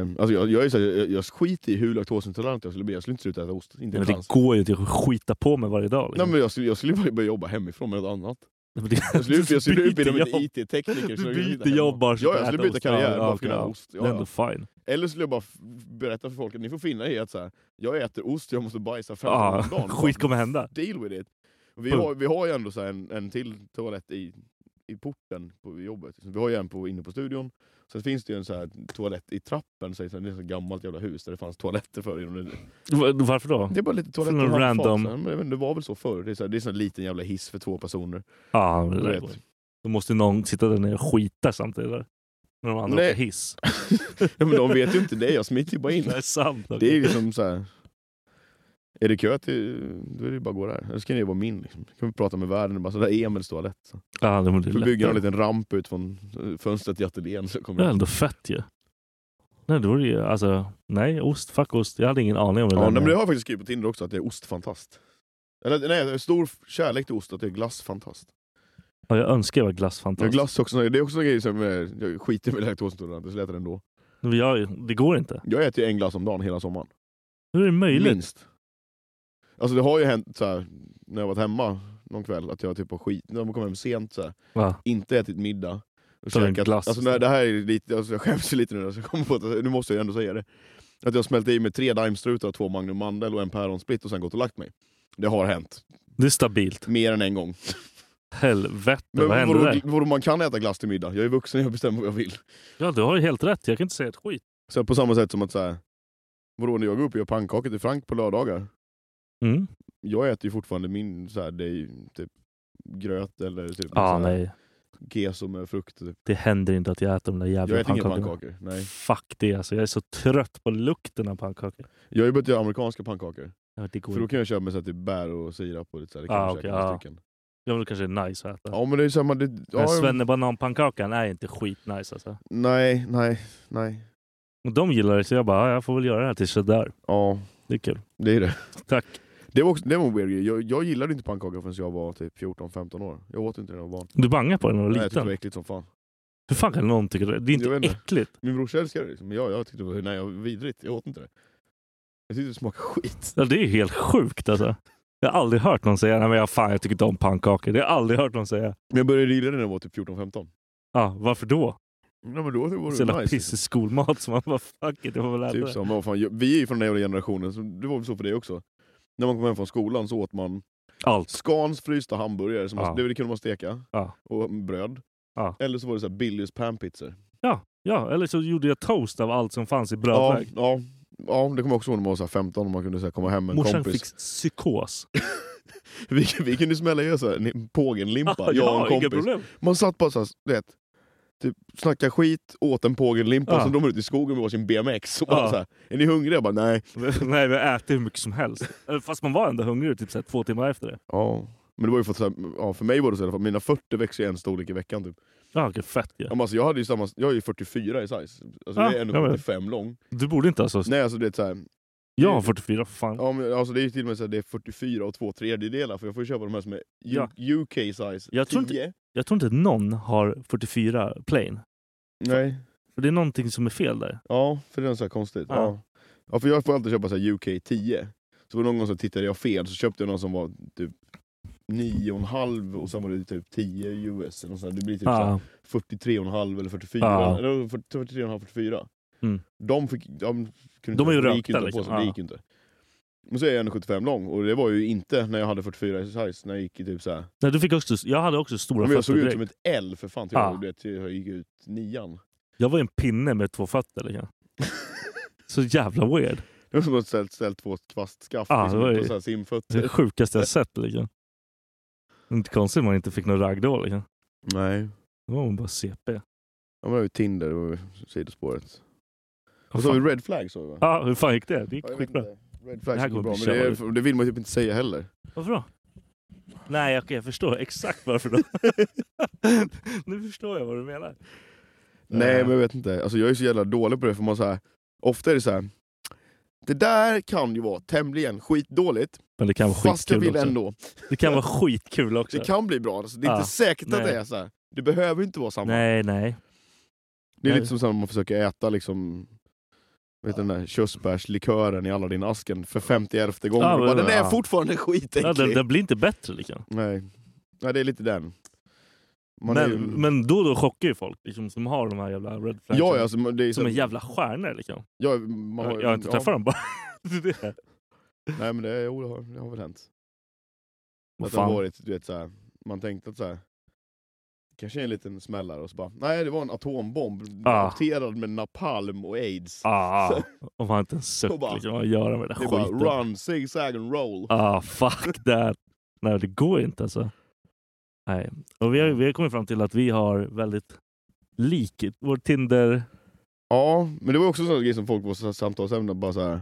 Speaker 5: Eh, Alltså, jag, jag, är så här, jag, jag skiter i hur laktosintolerant jag skulle bli. Jag skulle inte sluta äta ost. Inte
Speaker 6: Nej, men
Speaker 5: en chans.
Speaker 6: det går ju inte att skita på mig varje dag.
Speaker 5: Nej,
Speaker 6: Liksom.
Speaker 5: men jag skulle, jag skulle bara börja jobba hemifrån med något annat.
Speaker 6: Nej, men det-
Speaker 5: Jag skulle ut- jag skulle
Speaker 6: du
Speaker 5: ut inom
Speaker 6: byter
Speaker 5: en
Speaker 6: jobb.
Speaker 5: IT-tekniker. så
Speaker 6: Du
Speaker 5: jag kan sitta
Speaker 6: byter
Speaker 5: hemma.
Speaker 6: jobb bara. för
Speaker 5: Ja,
Speaker 6: att
Speaker 5: jag skulle
Speaker 6: äta
Speaker 5: byta
Speaker 6: ost. Ah,
Speaker 5: karriär bara för att
Speaker 6: okej,
Speaker 5: kunna äta ost. Ja,
Speaker 6: det är
Speaker 5: ja.
Speaker 6: ändå fine.
Speaker 5: Eller skulle jag bara f- berätta för folk att ni får finna er att så här, jag äter ost, jag måste bajsa fem
Speaker 6: Ja,
Speaker 5: gånger om dagen.
Speaker 6: skit kommer hända.
Speaker 5: Deal with it. Och Vi
Speaker 6: Punkt.
Speaker 5: har, vi har ju ändå så här en, en till toalett i, i porten på jobbet. Så Vi har ju en på, inne på studion. Sen finns det ju en så här toalett i trappen, så det är ett gammalt jävla hus där det fanns toaletter förr. Inom det.
Speaker 6: Va- Varför då?
Speaker 5: det är bara lite
Speaker 6: För
Speaker 5: toaletter.
Speaker 6: någon
Speaker 5: och
Speaker 6: random-
Speaker 5: handfat, så här. Men jag vet inte, Det var väl så förr. Det är så här, det är så här en liten jävla hiss för två personer.
Speaker 6: Ja, men
Speaker 5: Du
Speaker 6: det där
Speaker 5: vet.
Speaker 6: går ju. Då måste ju någon sitta där nere och skita samtidigt. Där. När de andra
Speaker 5: Nej.
Speaker 6: åker hiss.
Speaker 5: Ja, men de vet ju inte det, jag smiter ju bara in.
Speaker 6: Det är sant. okej.
Speaker 5: Det är ju liksom så här. Är det kö till, då är det ju bara att gå där. Eller så kan det ju vara min. Liksom. Då kan vi prata med värden och bara sådär Emils toalett. Så.
Speaker 6: Ja, det, men det
Speaker 5: Vi
Speaker 6: är
Speaker 5: får bygga en
Speaker 6: lättare.
Speaker 5: liten ramp ut från eh, fönstret i ateljén. Så
Speaker 6: Det
Speaker 5: kommer
Speaker 6: är
Speaker 5: jag.
Speaker 6: ändå fett ju. Nej, det vore ju, alltså, nej, ost, fuck ost. Jag hade ingen aning om det
Speaker 5: Ja,
Speaker 6: där
Speaker 5: nej, men
Speaker 6: med-
Speaker 5: det har jag faktiskt skrivit på Tinder också, att jag är ostfantast. Eller nej, jag har stor kärlek till ost, att jag är glassfantast.
Speaker 6: ja, jag önskar jag var
Speaker 5: Jag är
Speaker 6: glassfantast.
Speaker 5: glass också, det är också en grej som jag, jag skiter med laktosintolerant, så jag äter den ändå.
Speaker 6: Men jag, det går inte.
Speaker 5: Jag äter ju en glass om dagen hela sommaren.
Speaker 6: Hur är det möjligt?
Speaker 5: Minst. Alltså det har ju hänt så här, när jag varit hemma någon kväll, att jag typ har skit, när man kommer hem sent så här,
Speaker 6: Ja.
Speaker 5: inte ätit middag. Och
Speaker 6: Tar en
Speaker 5: käkat,
Speaker 6: glass
Speaker 5: alltså, nej, det här är lite, alltså, jag skäms ju lite nu, alltså, jag kommer på att, nu måste jag ju ändå säga det. Att jag smält i mig tre Daimstrutar, två Magnum Mandel och en Päronsplit och sen gått och lagt mig. Det har hänt.
Speaker 6: Det är stabilt.
Speaker 5: Mer än en gång.
Speaker 6: Helvete,
Speaker 5: Men
Speaker 6: vad hände
Speaker 5: vadå-
Speaker 6: där?
Speaker 5: vadå, man kan äta glass till middag. Jag är vuxen, jag bestämmer vad jag vill.
Speaker 6: Ja, du har ju helt rätt. Jag kan inte säga ett skit.
Speaker 5: Så på samma sätt som att så här, vadå, när jag går upp och gör pannkakor till Frank på lördagar,
Speaker 6: Mm.
Speaker 5: jag äter ju fortfarande min så här, det är ju typ gröt eller typ
Speaker 6: Ja,
Speaker 5: så här
Speaker 6: nej.
Speaker 5: keso med frukt. Typ.
Speaker 6: Det händer inte att jag äter de där
Speaker 5: Jag
Speaker 6: jävla
Speaker 5: äter inga
Speaker 6: pannkakorna.
Speaker 5: pannkakor. Nej.
Speaker 6: Fuck det alltså. Jag är så trött på lukten av pannkakor.
Speaker 5: Jag har ju börjat göra amerikanska pannkakor.
Speaker 6: Ja, det går
Speaker 5: För då
Speaker 6: inte.
Speaker 5: kan jag köpa med så här, typ bär och sirap och lite så här, det kan
Speaker 6: Ah,
Speaker 5: jag
Speaker 6: okej,
Speaker 5: käka några
Speaker 6: ja.
Speaker 5: stycken.
Speaker 6: Ja, men det kanske är nice att äta.
Speaker 5: Ja men det är samma... Det,
Speaker 6: Den här
Speaker 5: ja,
Speaker 6: Svennebananpannkakan är inte skitnice alltså.
Speaker 5: nej, nej, nej.
Speaker 6: Och de gillar det så jag bara, ja, jag får väl göra det här till sådär.
Speaker 5: Ja,
Speaker 6: Det är kul.
Speaker 5: det är det.
Speaker 6: Tack.
Speaker 5: Det var, också, det var en weird grej. Jag, jag gillade inte pannkakor förrän jag var typ 14-15 år. Jag åt inte det när jag var barn.
Speaker 6: Du bangar på den när du
Speaker 5: Nej,
Speaker 6: var
Speaker 5: jag tyckte det
Speaker 6: liten.
Speaker 5: var äckligt som fan.
Speaker 6: Hur fan kan någon tycka det? Det är
Speaker 5: Jag vet
Speaker 6: inte
Speaker 5: inte.
Speaker 6: äckligt.
Speaker 5: Min brorsa älskade det, liksom. men jag, jag tyckte det var nej, jag, vidrigt. Jag åt inte det. Jag tyckte det smakade skit.
Speaker 6: Ja, det är ju helt sjukt alltså. Jag har aldrig hört någon säga, nej men jag, fan jag tycker inte om pannkakor. Det har jag aldrig hört någon säga.
Speaker 5: Men jag började gilla det när jag var typ 14-15.
Speaker 6: Ja, varför då?
Speaker 5: Nej men då var
Speaker 6: Så
Speaker 5: det
Speaker 6: jävla
Speaker 5: nice.
Speaker 6: pissig skolmat som man bara, fuck it, jag får väl äta
Speaker 5: Typ
Speaker 6: det.
Speaker 5: så, men vad fan, jag- vi är ju från den jävla generationen, så det var väl så för dig också. När man kom hem från skolan så åt man
Speaker 6: Allt.
Speaker 5: Scans frysta hamburgare, som man,
Speaker 6: Ja.
Speaker 5: det, det kunde man steka,
Speaker 6: Ja.
Speaker 5: och bröd.
Speaker 6: Ja.
Speaker 5: Eller så var det så här Billys panpizzor.
Speaker 6: Ja, ja, eller så gjorde jag toast av allt som fanns i
Speaker 5: Ja,
Speaker 6: brödväg.
Speaker 5: ja, ja, det kommer jag också ihåg när man var så här 15 och man kunde så här komma hem med en
Speaker 6: Morsan
Speaker 5: kompis.
Speaker 6: fick psykos.
Speaker 5: Vi, vi kunde smälla i oss så här en pågenlimpa, jag och en
Speaker 6: inga
Speaker 5: kompis.
Speaker 6: problem.
Speaker 5: Man satt bara såhär, du vet, typ, snackade skit, åt en pågenlimpa,
Speaker 6: Ja.
Speaker 5: och sen drog man ut i skogen med varsin BMX. Och bara
Speaker 6: Ja.
Speaker 5: så här, är ni hungriga? Jag bara, nej.
Speaker 6: Nej, vi äter hur mycket som helst. Eh, Fast man var ändå hungrig typ så här, två timmar efter det.
Speaker 5: Ja. Men det var ju för, att, så här, ja, för mig var det så i alla fall, mina 40 växer ju en storlek i veckan. Typ.
Speaker 6: Ja, vilket fett ju.
Speaker 5: Ja, men Alltså, jag, hade ju samma, jag är ju 44 i size, alltså,
Speaker 6: Ja,
Speaker 5: jag är ändå
Speaker 6: jag vet.
Speaker 5: 75 lång.
Speaker 6: Du borde inte alltså...
Speaker 5: Nej, alltså, det är så här,
Speaker 6: Jag har 44, för fan.
Speaker 5: ja, men, alltså, det är ju till och med så här, det är 44 och två tredjedelar, för jag får ju köpa de här som är U-
Speaker 6: Ja.
Speaker 5: UK size.
Speaker 6: Jag tror inte-
Speaker 5: 10.
Speaker 6: Jag tror inte att någon har 44 plain.
Speaker 5: Nej.
Speaker 6: För det är någonting som är fel där.
Speaker 5: Ja, för det är så här konstigt.
Speaker 6: Ja.
Speaker 5: Ja. typ. Ja. för jag får alltid köpa så här UK 10. Så var det någon gång så tittade jag fel, så köpte jag någon som var typ 9,5 och sen var det typ 10 US. Eller något sånt. där. Det blir typ så här
Speaker 6: Ja,
Speaker 5: 43,5 eller 44.
Speaker 6: Ja.
Speaker 5: Eller 43,5 44.
Speaker 6: Mm.
Speaker 5: De fick... De, kunde
Speaker 6: De är ju
Speaker 5: det gick
Speaker 6: rökta,
Speaker 5: inte att få
Speaker 6: liksom.
Speaker 5: sig, Det
Speaker 6: Ja.
Speaker 5: gick ju inte. Men så är jag 1,75 lång och det var ju inte när jag hade 44 i size, när jag gick i typ så här.
Speaker 6: Nej, du fick också, jag hade också stora
Speaker 5: Men jag
Speaker 6: fötter
Speaker 5: såg ut
Speaker 6: direkt.
Speaker 5: som ett L för fan till
Speaker 6: Ja.
Speaker 5: jag, du vet, till jag gick ut nian.
Speaker 6: Jag var ju en pinne med två fötter. Liksom. Så jävla weird.
Speaker 5: Det var som att ställa ställ två kvastskaft
Speaker 6: Ja,
Speaker 5: liksom,
Speaker 6: det var ju-
Speaker 5: på så här simfötter.
Speaker 6: Det är det sjukaste jag sett. Liksom. Inte konstigt man inte fick någon ragg då. Liksom.
Speaker 5: Nej.
Speaker 6: Då var man bara CP.
Speaker 5: Ja, men det var ju Tinder, det var ju sidospåret.
Speaker 6: Vad
Speaker 5: Och så har
Speaker 6: fan?
Speaker 5: vi Red Flag sa vi va?
Speaker 6: Ja, hur fan gick det? Det gick
Speaker 5: Ja, jag vet
Speaker 6: skitbra.
Speaker 5: inte. Red
Speaker 6: Det
Speaker 5: Flag
Speaker 6: här
Speaker 5: gick bra,
Speaker 6: kommer
Speaker 5: men
Speaker 6: bli
Speaker 5: det,
Speaker 6: körd.
Speaker 5: är, det vill man ju typ inte säga heller.
Speaker 6: Varför då? Nej, okej, jag förstår exakt varför då. nu förstår jag vad du menar.
Speaker 5: Nej
Speaker 6: Eh,
Speaker 5: men jag vet inte, alltså, jag är så jävla dålig på det för man så här, ofta är det så här. Det där kan ju vara tämligen skitdåligt.
Speaker 6: Men det kan vara
Speaker 5: Fast jag
Speaker 6: skitkul
Speaker 5: vill
Speaker 6: också.
Speaker 5: ändå.
Speaker 6: Det kan vara skitkul också.
Speaker 5: Det kan bli bra. Alltså, det är
Speaker 6: Ja,
Speaker 5: inte säkert att
Speaker 6: nej.
Speaker 5: det är så här. Det behöver inte vara samma.
Speaker 6: Nej, nej.
Speaker 5: Det är
Speaker 6: Nej.
Speaker 5: lite som så här när man försöker äta liksom Vet du, den där körsbärslikören i alla din asken för 51 gången.
Speaker 6: Ja,
Speaker 5: och bara,
Speaker 6: men-
Speaker 5: den är
Speaker 6: ja.
Speaker 5: fortfarande
Speaker 6: Ja,
Speaker 5: skitäcklig.
Speaker 6: den, den blir inte bättre liksom.
Speaker 5: Nej. Nej, det är lite den. Man
Speaker 6: men,
Speaker 5: är ju-
Speaker 6: men då och då chockar ju folk liksom, som har de här jävla red flagsen.
Speaker 5: ja, ja, alltså, man- det är så,
Speaker 6: som är jävla stjärnor liksom.
Speaker 5: ja, man har,
Speaker 6: jag, jag har inte
Speaker 5: ja.
Speaker 6: träffat dem bara. Det är det.
Speaker 5: Nej men det, jo, det, har, det har väl hänt.
Speaker 6: Vad
Speaker 5: Att det har
Speaker 6: fan.
Speaker 5: varit, du vet, så här, man tänkte att så här, kanske är en liten smällare och så bara, nej det var en atombomb
Speaker 6: Ah.
Speaker 5: apterad med napalm och aids.
Speaker 6: Ah, om han inte ens
Speaker 5: Och
Speaker 6: sök
Speaker 5: bara-
Speaker 6: liksom, vad gör han med den
Speaker 5: det är
Speaker 6: här
Speaker 5: bara
Speaker 6: skiten?
Speaker 5: run, zig zag and roll.
Speaker 6: Ah, fuck that. Nej, det går inte alltså. Nej. Och vi, har, vi har kommit fram till att vi har väldigt lik vår Tinder...
Speaker 5: Ja, men det var också en sån grej som folk på så- samtalsämnen bara så här.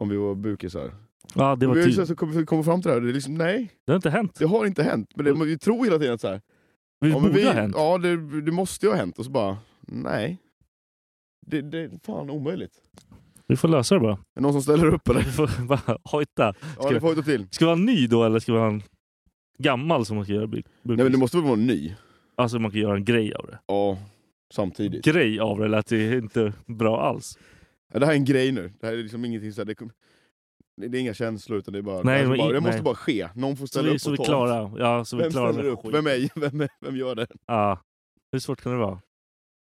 Speaker 5: Om vi var bukisar.
Speaker 6: Ja, det var
Speaker 5: vi har ju
Speaker 6: typ...
Speaker 5: så- så kommit kom fram till det här, det är liksom nej,
Speaker 6: Det har inte hänt.
Speaker 5: det har inte hänt. Men det, vi tror hela tiden att så här,
Speaker 6: Vi
Speaker 5: ja, men
Speaker 6: borde
Speaker 5: vi,
Speaker 6: ha hänt.
Speaker 5: Ja, det, det måste ju ha hänt. Och så bara, nej. Det, det är fan omöjligt.
Speaker 6: Vi får lösa det bara.
Speaker 5: Är det någon som ställer upp eller?
Speaker 6: Vi får bara hojta.
Speaker 5: Ja, det får vi ta till.
Speaker 6: Ska vi ha en ny då eller ska vi ha en gammal som man kan göra bu- bukis?
Speaker 5: Nej men det måste väl vara en ny?
Speaker 6: Alltså man kan göra en grej av det.
Speaker 5: Ja, samtidigt.
Speaker 6: Grej av det lät ju inte bra alls.
Speaker 5: Ja, det här är en grej nu. Det här är liksom ingenting så här, det, kom- det det är inga känslor utan det är bara...
Speaker 6: Nej,
Speaker 5: det, här
Speaker 6: men-
Speaker 5: bara, det måste
Speaker 6: nej.
Speaker 5: bara ske. Någon får
Speaker 6: Så
Speaker 5: ställa
Speaker 6: vi,
Speaker 5: upp
Speaker 6: så
Speaker 5: och
Speaker 6: vi
Speaker 5: ta.
Speaker 6: klarar, ja, så vi
Speaker 5: Vem
Speaker 6: klarar
Speaker 5: ställer
Speaker 6: den
Speaker 5: upp?
Speaker 6: skiten.
Speaker 5: Vem, är, vem, vem gör det?
Speaker 6: Ja. Hur svårt kan det vara?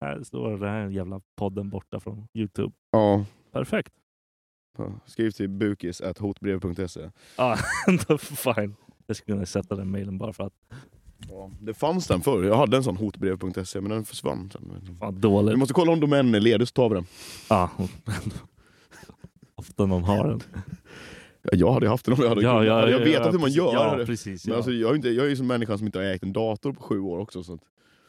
Speaker 6: Här står den här jävla podden borta från Youtube.
Speaker 5: Ja.
Speaker 6: Perfekt.
Speaker 5: Ja, Skriv till bukis.hotbrev.se
Speaker 6: Ja, då fine. Jag skulle kunna sätta den mailen bara för att
Speaker 5: ja, Det fanns den förr, jag hade en sån hotbrev.se men den försvann sen.
Speaker 6: fan
Speaker 5: Vi
Speaker 6: dåligt.
Speaker 5: måste kolla om domänen är ledig så tar vi den.
Speaker 6: Ja. Ofta någon har den.
Speaker 5: Ja, Jag hade haft den om jag hade
Speaker 6: Ja, ja,
Speaker 5: hade jag
Speaker 6: ja,
Speaker 5: vetat
Speaker 6: ja,
Speaker 5: hur man
Speaker 6: precis.
Speaker 5: gör. hade-
Speaker 6: Ja, precis.
Speaker 5: men
Speaker 6: Ja.
Speaker 5: alltså, jag, är ju inte, jag är ju som människan som inte har ägt en dator på sju år också. Så att,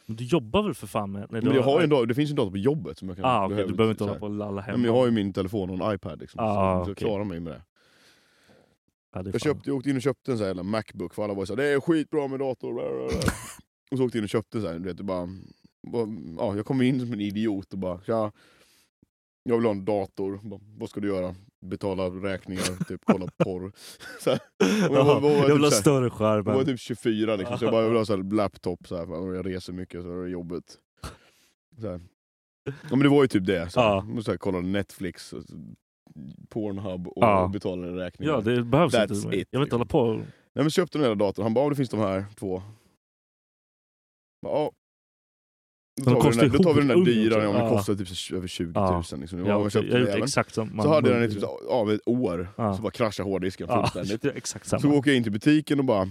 Speaker 6: Men du jobbar väl för fan med... Nej,
Speaker 5: men jag har ju en dator, det finns ju en dator på jobbet som jag kan...
Speaker 6: Ah, okej, du behöver inte
Speaker 5: så
Speaker 6: hålla
Speaker 5: här.
Speaker 6: på och lalla
Speaker 5: Nej,
Speaker 6: hemma.
Speaker 5: men jag har ju min telefon och en iPad liksom,
Speaker 6: Ah,
Speaker 5: så, jag- så jag
Speaker 6: okej.
Speaker 5: klarar mig med det.
Speaker 6: ja, det
Speaker 5: Jag,
Speaker 6: är fan-
Speaker 5: köpte, jag åkte in och köpte en sån här jävla Macbook för alla var ju såhär, det är skitbra med dator. bla, bla, bla." och så åkte jag in och köpte så här, du vet, det bara, bara, ja, jag kom in som en idiot och bara, tja, jag vill ha en dator. Bara, vad ska du göra? Betala räkningar, typ kolla porr. Så här. Och jag var-
Speaker 6: Jaha,
Speaker 5: var
Speaker 6: jag
Speaker 5: typ
Speaker 6: vill ha
Speaker 5: så här-
Speaker 6: större
Speaker 5: Jag var
Speaker 6: skärm.
Speaker 5: typ 24 liksom, så jag bara, jag vill ha så här laptop så här, för jag reser mycket så det är jobbigt. Så här. Ja men det var ju typ det. Så här.
Speaker 6: Ja.
Speaker 5: Så här, kolla Netflix, och Pornhub och
Speaker 6: Ja.
Speaker 5: betala räkningar.
Speaker 6: Ja, det behövs
Speaker 5: That's
Speaker 6: inte.
Speaker 5: it.
Speaker 6: Jag vill inte hålla på och
Speaker 5: Nej men så köpte den här datorn, han bara "Ja, det finns de här två. Bara, Ja. Då
Speaker 6: Den
Speaker 5: tar, vi den
Speaker 6: kostar
Speaker 5: där,
Speaker 6: ju
Speaker 5: då tar vi den där
Speaker 6: ung
Speaker 5: dyra,
Speaker 6: också.
Speaker 5: ja, men den
Speaker 6: Ja.
Speaker 5: kostar typ så- över 20 000.
Speaker 6: Ja.
Speaker 5: Liksom.
Speaker 6: Ja,
Speaker 5: Ja, jag
Speaker 6: okej,
Speaker 5: köpte
Speaker 6: jag
Speaker 5: den
Speaker 6: gjorde
Speaker 5: jäveln.
Speaker 6: exakt samma.
Speaker 5: Så hade jag den i typ så- av ett år,
Speaker 6: Ja.
Speaker 5: så bara kraschade hårddisken
Speaker 6: Ja,
Speaker 5: fullständigt.
Speaker 6: det är exakt samma.
Speaker 5: Så åker jag in till butiken och bara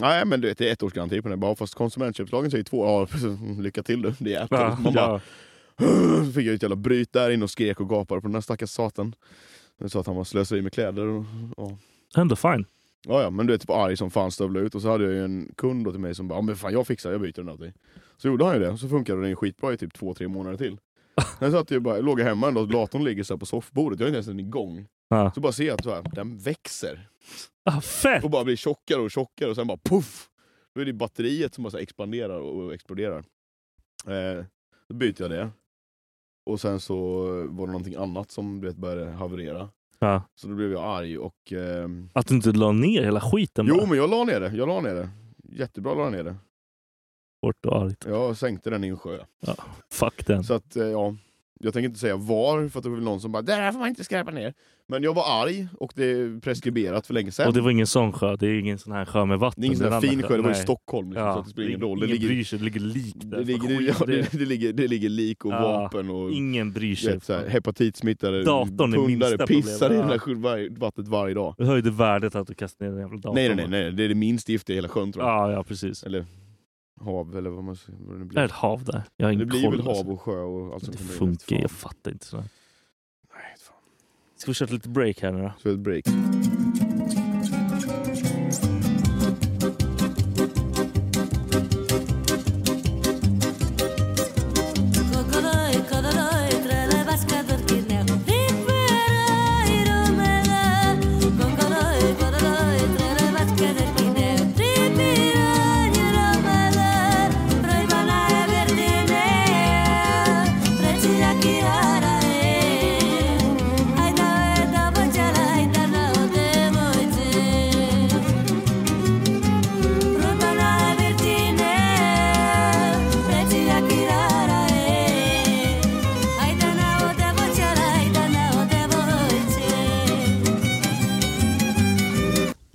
Speaker 5: Nej men du vet det är ett års garanti på den. Jag Bara, fast konsumentköplagen säger två. Ja precis, lycka till du. Det är Apple.
Speaker 6: ja,
Speaker 5: Man bara,
Speaker 6: ja.
Speaker 5: så fick jag ju ett jävla bryt där inne och skrek och gapade på den där stackars satan. Jag sa att han var slöseri med kläder. Och, ja.
Speaker 6: Ändå fine.
Speaker 5: Ja, ja, men du är typ arg som fan stövlade ut och så hade jag ju en kund då till mig som bara "Ja, men fan jag fixar, jag byter den åt dig. Så gjorde han ju det, och så funkade den ju skitbra i typ två, tre månader till. Sen satt jag ju bara, låg jag hemma en dag och datorn ligger så här på soffbordet, jag är inte ens den igång.
Speaker 6: Ja.
Speaker 5: Så bara ser jag att så här, den växer
Speaker 6: Ah, fett!
Speaker 5: och bara blir tjockare och tjockare och sen bara puff! Då är det batteriet som bara så här expanderar och exploderar. Eh, då byter jag det. Och sen så var det någonting annat som du vet, började haverera.
Speaker 6: Ja.
Speaker 5: Så då blev jag arg och ehm,
Speaker 6: Att du inte la ner hela skiten
Speaker 5: Jo
Speaker 6: bara.
Speaker 5: men jag la ner det, jag la ner det. Jättebra la jag ner det.
Speaker 6: Bort och argt.
Speaker 5: Jag sänkte den i en sjö.
Speaker 6: Fuck den.
Speaker 5: Så att, eh, ja. Jag tänker inte säga var, för att det var väl någon som bara det här får man inte skräpa ner. Men jag var arg och det är preskriberat för länge sedan.
Speaker 6: Och det var ingen sån sjö. Det är ingen sån här sjö med vatten.
Speaker 5: Det är ingen sån
Speaker 6: en
Speaker 5: där
Speaker 6: annan
Speaker 5: fin sjö, det var i
Speaker 6: Nej.
Speaker 5: Stockholm liksom, så att det spelar ingen roll. Det
Speaker 6: ingen
Speaker 5: ligger,
Speaker 6: bryr sig. Det ligger lik där.
Speaker 5: det, ligger, det,
Speaker 6: Skit
Speaker 5: ja,
Speaker 6: i det.
Speaker 5: det, det, ligger, det ligger lik och
Speaker 6: Ja.
Speaker 5: vapen och
Speaker 6: Ingen bryr sig.
Speaker 5: vet, så här, hepatitsmittade
Speaker 6: Datorn är minsta
Speaker 5: pundare pissar i
Speaker 6: problemet.
Speaker 5: det där sjö- varje- vattnet varje dag.
Speaker 6: Det höjde värdet att du kastade ner den jävla datorn.
Speaker 5: Nej, nej, nej, nej, det är det minst giftiga i hela sjön tror jag.
Speaker 6: Ja, ja precis.
Speaker 5: Eller hav, eller vad man säger. vad det nu
Speaker 6: Det är
Speaker 5: blir.
Speaker 6: ett hav där. Jag har
Speaker 5: Det
Speaker 6: ingen
Speaker 5: blir
Speaker 6: koll.
Speaker 5: väl hav
Speaker 6: alltså.
Speaker 5: och sjö och allt som
Speaker 6: Det
Speaker 5: kommer in.
Speaker 6: funkar
Speaker 5: Fan.
Speaker 6: Jag fattar inte sådär.
Speaker 5: Nej, fan.
Speaker 6: Ska vi köra ett litet break här nu då?
Speaker 5: Så ett break.
Speaker 3: Thank you.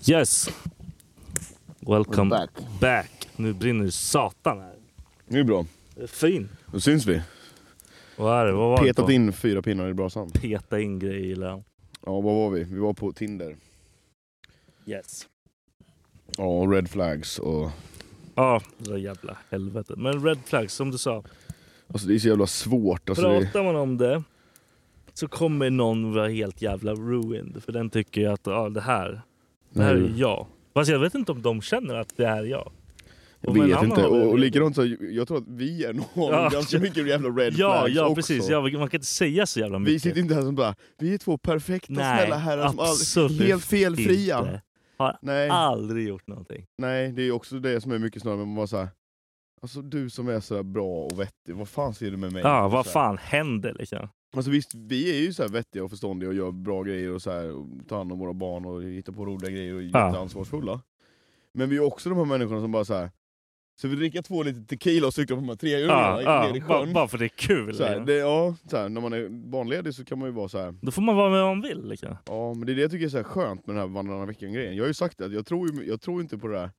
Speaker 6: Yes. Welcome
Speaker 5: We're back.
Speaker 6: back. Nu brinner det satan här.
Speaker 5: Det är bra.
Speaker 6: Det är Fin.
Speaker 5: Då syns vi.
Speaker 6: Vad är det? Vad var det
Speaker 5: Petat
Speaker 6: på?
Speaker 5: in fyra pinnar i brasan.
Speaker 6: Peta in grejer gillar jag.
Speaker 5: Ja, vad var vi? Vi var på Tinder.
Speaker 6: Yes.
Speaker 5: Ja, och red flags och...
Speaker 6: Ja, det där jävla helvetet. Men red flags, som du sa.
Speaker 5: Alltså det är så jävla svårt. Alltså, det...
Speaker 6: Pratar man om det så kommer någon vara helt jävla ruined. För den tycker ju att ah, det här, det här är ju
Speaker 5: Nej.
Speaker 6: jag. Fast jag vet inte om de känner att det här är jag.
Speaker 5: Jag
Speaker 6: Och men
Speaker 5: vet
Speaker 6: han
Speaker 5: inte.
Speaker 6: har väl-
Speaker 5: Och, och likadant så, jag tror att vi är nog
Speaker 6: Ja.
Speaker 5: ganska mycket jävla red
Speaker 6: Ja,
Speaker 5: flags
Speaker 6: ja
Speaker 5: också.
Speaker 6: precis. Ja, man kan inte säga så jävla mycket.
Speaker 5: Vi sitter inte här som bara, vi är två perfekta
Speaker 6: Nej,
Speaker 5: snälla herrar som
Speaker 6: absolut
Speaker 5: aldrig, helt felfria.
Speaker 6: inte. Har
Speaker 5: Nej.
Speaker 6: aldrig gjort någonting.
Speaker 5: Nej, det är också det som är mycket snarare, men man bara såhär, alltså du som är sådär bra och vettig, vad fan ser du med mig? Alltså
Speaker 6: Ja, vad
Speaker 5: Så här.
Speaker 6: fan händer liksom?
Speaker 5: Alltså visst, vi är ju så här vettiga och förståndiga och gör bra grejer och, så här, och tar hand om våra barn och hittar på roliga grejer och är
Speaker 6: Ja.
Speaker 5: jätteansvarsfulla. Men vi är också de här människorna som bara så här. så vi dricker två liter tequila och cyklar på de här tre
Speaker 6: Ja,
Speaker 5: hjulingarna
Speaker 6: ja,
Speaker 5: ner i
Speaker 6: bara,
Speaker 5: sjön.
Speaker 6: bara för det är kul.
Speaker 5: så här,
Speaker 6: liksom.
Speaker 5: det, ja, så här, när man är barnledig så kan man ju vara så här.
Speaker 6: Då får man vara med om man vill. Liksom.
Speaker 5: ja men det är det jag tycker är så här skönt med den här vandrarna veckan-grejen. Jag har ju sagt det, att jag tror, ju- jag tror inte på det där.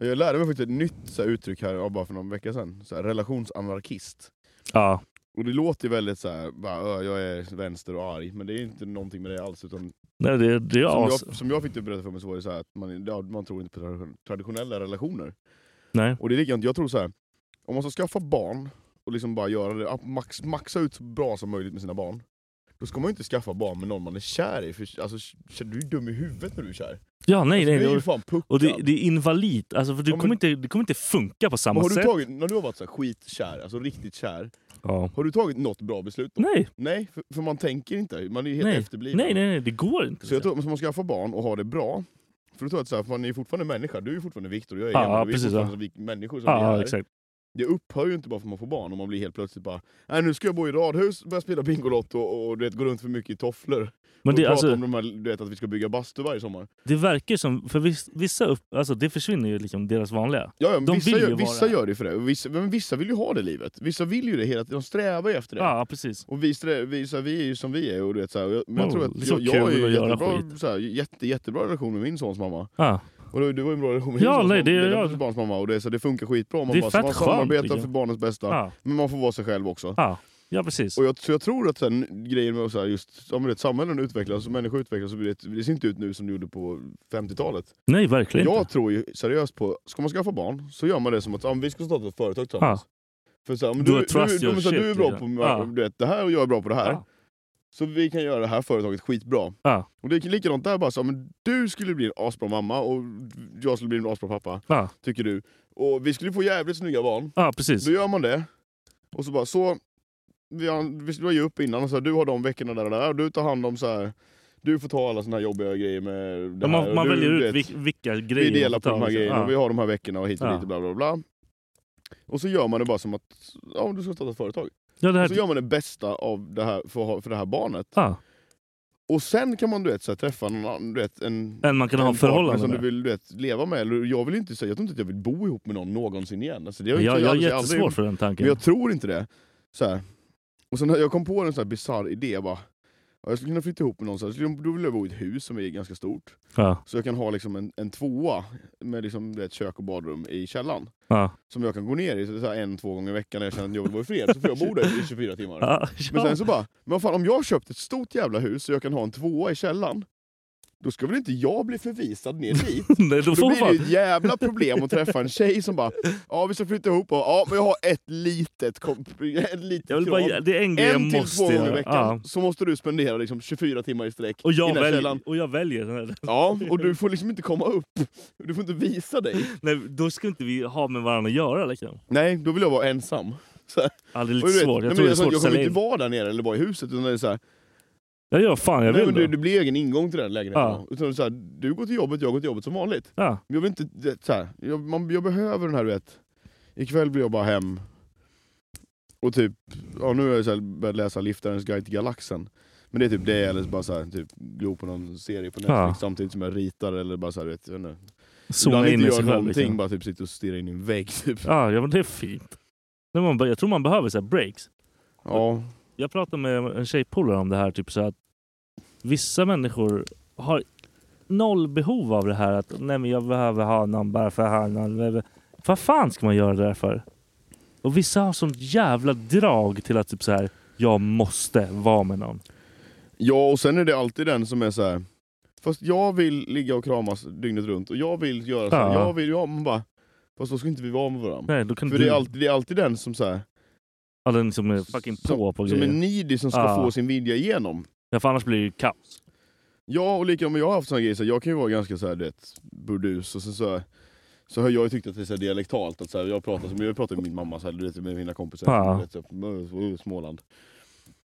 Speaker 5: Jag lärde mig faktiskt ett nytt så här, uttryck här ja, bara för någon vecka sedan, så här, relationsanarkist.
Speaker 6: Ja,
Speaker 5: Och det låter ju väldigt så här, bara, "Ö, jag är vänster och arg, men det är inte någonting med det alls. Utan
Speaker 6: Nej, det, det är
Speaker 5: som,
Speaker 6: as...
Speaker 5: jag, som jag fick det berättat för mig så var det så här att man, ja, man tror inte på tradition- traditionella relationer.
Speaker 6: Nej.
Speaker 5: Och det är likadant, jag tror så här, om man ska skaffa barn och liksom bara göra det, ja, max, maxa ut så bra som möjligt med sina barn. Då ska man ju inte skaffa barn med någon man är kär i, för alltså, k- du är ju dum i huvudet när du är kär.
Speaker 6: Ja, nej,
Speaker 5: alltså,
Speaker 6: nej.
Speaker 5: du är ju
Speaker 6: det-
Speaker 5: fan puckad.
Speaker 6: Och det, det är invalidt. Alltså, för det,
Speaker 5: Ja, men-
Speaker 6: kommer inte, det kommer inte funka på
Speaker 5: Men
Speaker 6: samma
Speaker 5: har du
Speaker 6: sätt.
Speaker 5: tagit, när du har varit så här skitkär, alltså riktigt kär,
Speaker 6: Ja.
Speaker 5: har du tagit något bra beslut? då?
Speaker 6: Nej,
Speaker 5: Nej, för, för man tänker inte, man är ju helt
Speaker 6: nej. nej,
Speaker 5: efterbliven.
Speaker 6: nej, nej. Det går inte. liksom.
Speaker 5: Så jag tror att om man ska skaffa barn och ha det bra, för då tror jag att så här, fan, ni är fortfarande människa, du är fortfarande Viktor och jag är
Speaker 6: Ja,
Speaker 5: Emil, vi är
Speaker 6: precis,
Speaker 5: fortfarande
Speaker 6: ja.
Speaker 5: som vi, människor som
Speaker 6: Ja,
Speaker 5: vi är.
Speaker 6: ja, exakt.
Speaker 5: Det upphör ju inte bara för att man får barn och man blir helt plötsligt bara Nej nu ska jag bo i radhus, börja spela Bingolotto och, och du vet, gå runt för mycket i tofflor.
Speaker 6: Men
Speaker 5: och
Speaker 6: det,
Speaker 5: prata
Speaker 6: alltså,
Speaker 5: om de här, du vet, att vi ska bygga bastu varje sommar.
Speaker 6: det verkar ju som... För vis- vissa upp, alltså, det försvinner ju liksom deras vanliga.
Speaker 5: Ja, ja, men
Speaker 6: De
Speaker 5: vissa,
Speaker 6: vill ju
Speaker 5: gör,
Speaker 6: vara
Speaker 5: vissa
Speaker 6: det.
Speaker 5: gör det för det, och vissa, men vissa vill ju ha det livet. Vissa vill ju det hela tiden, de strävar ju efter det.
Speaker 6: Ja, precis.
Speaker 5: Och vi, strä, vi, så här, vi är ju som vi är, och du vet, så här, och jag, men jag
Speaker 6: Ja,
Speaker 5: tror att
Speaker 6: det är så
Speaker 5: jag, jag har
Speaker 6: kul
Speaker 5: ju
Speaker 6: att göra
Speaker 5: jättebra,
Speaker 6: skit.
Speaker 5: så här, jätte, jättebra relation med min sons mamma.
Speaker 6: Ja.
Speaker 5: Och du, du var ju en bra relation med
Speaker 6: Ja,
Speaker 5: din
Speaker 6: nej,
Speaker 5: sons mamma,
Speaker 6: det-
Speaker 5: med
Speaker 6: ja.
Speaker 5: din barns mamma och det, är så det funkar skitbra. Man,
Speaker 6: Det är
Speaker 5: bara, så
Speaker 6: fett
Speaker 5: man
Speaker 6: skönt,
Speaker 5: samarbetar
Speaker 6: tycker jag.
Speaker 5: för barnens bästa,
Speaker 6: Ja.
Speaker 5: men man får vara sig själv också.
Speaker 6: Ja. ja, precis.
Speaker 5: Och jag, så jag tror att sen, grejen med så här, just, om vet, samhällen utvecklas och människor utvecklas, så blir det, det ser inte ut nu som det gjorde på 50-talet.
Speaker 6: Nej, verkligen
Speaker 5: Jag
Speaker 6: inte.
Speaker 5: tror ju seriöst på, ska man skaffa barn så gör man det som att ah, men vi ska starta ett företag tillsammans. För så här, men
Speaker 6: Du
Speaker 5: du,
Speaker 6: har
Speaker 5: du,
Speaker 6: trust
Speaker 5: du,
Speaker 6: your
Speaker 5: men så här, du är
Speaker 6: shit,
Speaker 5: bra på
Speaker 6: liksom. Ja.
Speaker 5: du vet, det här och jag är bra på det här.
Speaker 6: Ja.
Speaker 5: Så vi kan göra det här företaget skitbra.
Speaker 6: Ja.
Speaker 5: Och det är likadant där, bara så, här, men du skulle bli en asbra mamma och jag skulle bli en asbra pappa,
Speaker 6: Ja,
Speaker 5: tycker du. Och vi skulle få jävligt snygga barn.
Speaker 6: ja precis.
Speaker 5: Då gör man det. Och så bara så. Vi har, vi la ju upp innan och så här, du har de veckorna där och där. Och du tar hand om så här. Du får ta alla såna här jobbiga grejer med eh, det
Speaker 6: Ja,
Speaker 5: här,
Speaker 6: man
Speaker 5: och
Speaker 6: man
Speaker 5: du,
Speaker 6: väljer
Speaker 5: du
Speaker 6: ut
Speaker 5: vet,
Speaker 6: vil- vilka grejer
Speaker 5: Vi
Speaker 6: man
Speaker 5: delar
Speaker 6: får
Speaker 5: på
Speaker 6: ta,
Speaker 5: de här
Speaker 6: liksom.
Speaker 5: grejerna.
Speaker 6: Ja.
Speaker 5: Och vi har de här veckorna och hit och
Speaker 6: Ja.
Speaker 5: dit och bla bla bla. Och så gör man det bara som att ja, du ska starta ett företag.
Speaker 6: Ja, det
Speaker 5: Och så
Speaker 6: här...
Speaker 5: gör man det bästa av det här för, att ha- för det här barnet.
Speaker 6: Ja.
Speaker 5: Och sen kan man du vet, så här, träffa någon annan, du vet, en,
Speaker 6: En man kan ha
Speaker 5: en partner
Speaker 6: förhållanden
Speaker 5: som du
Speaker 6: med.
Speaker 5: vill du vet, leva med. Eller, jag, vill ju inte, säga, jag tror inte att jag vill bo ihop med någon någonsin igen. Alltså, det har
Speaker 6: Jag,
Speaker 5: ju
Speaker 6: jag,
Speaker 5: inte-
Speaker 6: har
Speaker 5: aldrig-
Speaker 6: jättesvårt för den tanken.
Speaker 5: Men jag tror inte det. Så här. Och sen, jag kom på en sån här bisarr idé. Jag, bara, ja, jag skulle kunna flytta ihop med någon, så här, skulle- då vill jag bo i ett hus som är ganska stort.
Speaker 6: Ja,
Speaker 5: Så jag kan ha liksom en, en tvåa med liksom, du vet, kök och badrum i källaren.
Speaker 6: ja.
Speaker 5: Som jag kan gå ner i så så här, en, två gånger i veckan när jag känner att jag vill vara i fred. Så får jag bo där i 24 timmar.
Speaker 6: Ja,
Speaker 5: Men
Speaker 6: ja.
Speaker 5: sen så bara, men vad fan, om jag har köpt ett stort jävla hus så jag kan ha en tvåa i källaren. Då ska väl inte jag bli förvisad ner dit?
Speaker 6: Nej, då
Speaker 5: Då
Speaker 6: får
Speaker 5: blir det
Speaker 6: man...
Speaker 5: ju ett jävla problem att träffa en tjej som bara Ja vi ska flytta ihop och ja men jag har ett litet komp- ett litet
Speaker 6: Jag vill bara,
Speaker 5: krav.
Speaker 6: det är en grej
Speaker 5: En
Speaker 6: jag
Speaker 5: till
Speaker 6: måste
Speaker 5: två gånger i
Speaker 6: göra.
Speaker 5: veckan
Speaker 6: Ja.
Speaker 5: så måste du spendera liksom 24 timmar i sträck
Speaker 6: Och,
Speaker 5: i
Speaker 6: jag
Speaker 5: den här
Speaker 6: väljer,
Speaker 5: källan.
Speaker 6: och jag väljer den här.
Speaker 5: Ja, och du får liksom inte komma upp. Du får inte visa dig.
Speaker 6: Nej, då ska inte vi ha med varandra att göra liksom.
Speaker 5: Nej, då vill jag vara ensam. Så här.
Speaker 6: Ja,
Speaker 5: Och
Speaker 6: det är
Speaker 5: du
Speaker 6: lite
Speaker 5: vet,
Speaker 6: svårt.
Speaker 5: nej,
Speaker 6: Jag
Speaker 5: men
Speaker 6: tror det är
Speaker 5: alltså,
Speaker 6: svårt att
Speaker 5: jag kommer
Speaker 6: sälja
Speaker 5: inte
Speaker 6: in.
Speaker 5: vara där nere eller vara i huset. Utan det är så här,
Speaker 6: Jag gör fan
Speaker 5: nej,
Speaker 6: jag
Speaker 5: men
Speaker 6: vill
Speaker 5: du,
Speaker 6: då.
Speaker 5: det blir egen ingång till den här lägenheten.
Speaker 6: Ja.
Speaker 5: då. Utan så här, du går till jobbet, jag går till jobbet som vanligt.
Speaker 6: Ja,
Speaker 5: Men Jag vill inte, det- så här, jag, man, jag behöver den här du vet, ikväll blir jag bara hem och typ, ja nu har jag så här börjat läsa Liftarens guide till galaxen. Men det är typ det eller så bara så här, typ glo på någon serie på Netflix
Speaker 6: Ja.
Speaker 5: samtidigt som jag ritar eller bara så här, du vet, jag vet inte.
Speaker 6: zona in i sig själv.
Speaker 5: någonting,
Speaker 6: Liksom.
Speaker 5: bara typ sitter och stirrar in i en vägg typ.
Speaker 6: Ja, ja, men det är fint. Nej, man, be- jag tror man behöver så här breaks.
Speaker 5: Ja,
Speaker 6: Jag pratade med en tjejpolare om det här. Typ så här att vissa människor har noll behov av det här att nej men jag behöver ha någon bara för att ha någon. Vad fan ska man göra det där för? Och vissa har sånt jävla drag till att typ så här, jag måste vara med någon.
Speaker 7: Ja, och sen är det alltid den som är så här. Fast jag vill ligga och kramas dygnet runt och jag vill göra så
Speaker 5: Alltså,
Speaker 7: här.
Speaker 6: Ja.
Speaker 7: Jag vill, ja, man bara, fast då ska inte vi vara med varandra.
Speaker 6: Nej, då kan
Speaker 7: För
Speaker 6: du...
Speaker 7: det är, alltid, det är alltid den som så här,
Speaker 6: Ja, den som är fucking på på
Speaker 7: som är
Speaker 6: grejer.
Speaker 7: needy
Speaker 5: liksom
Speaker 7: som ska
Speaker 6: Ja.
Speaker 7: få sin vilja igenom.
Speaker 6: Ja, för annars blir det ju kaos.
Speaker 7: Ja, och likadant, men jag har haft såna grejer, så här, jag kan ju vara ganska så här, du vet, burdus och sen så, så har jag ju tyckt att det är så här dialektalt, att så här, jag pratar som jag pratar med min mamma, så här, du vet, med mina kompisar
Speaker 6: Ja.
Speaker 7: du vet, så, här, "Mö, Småland.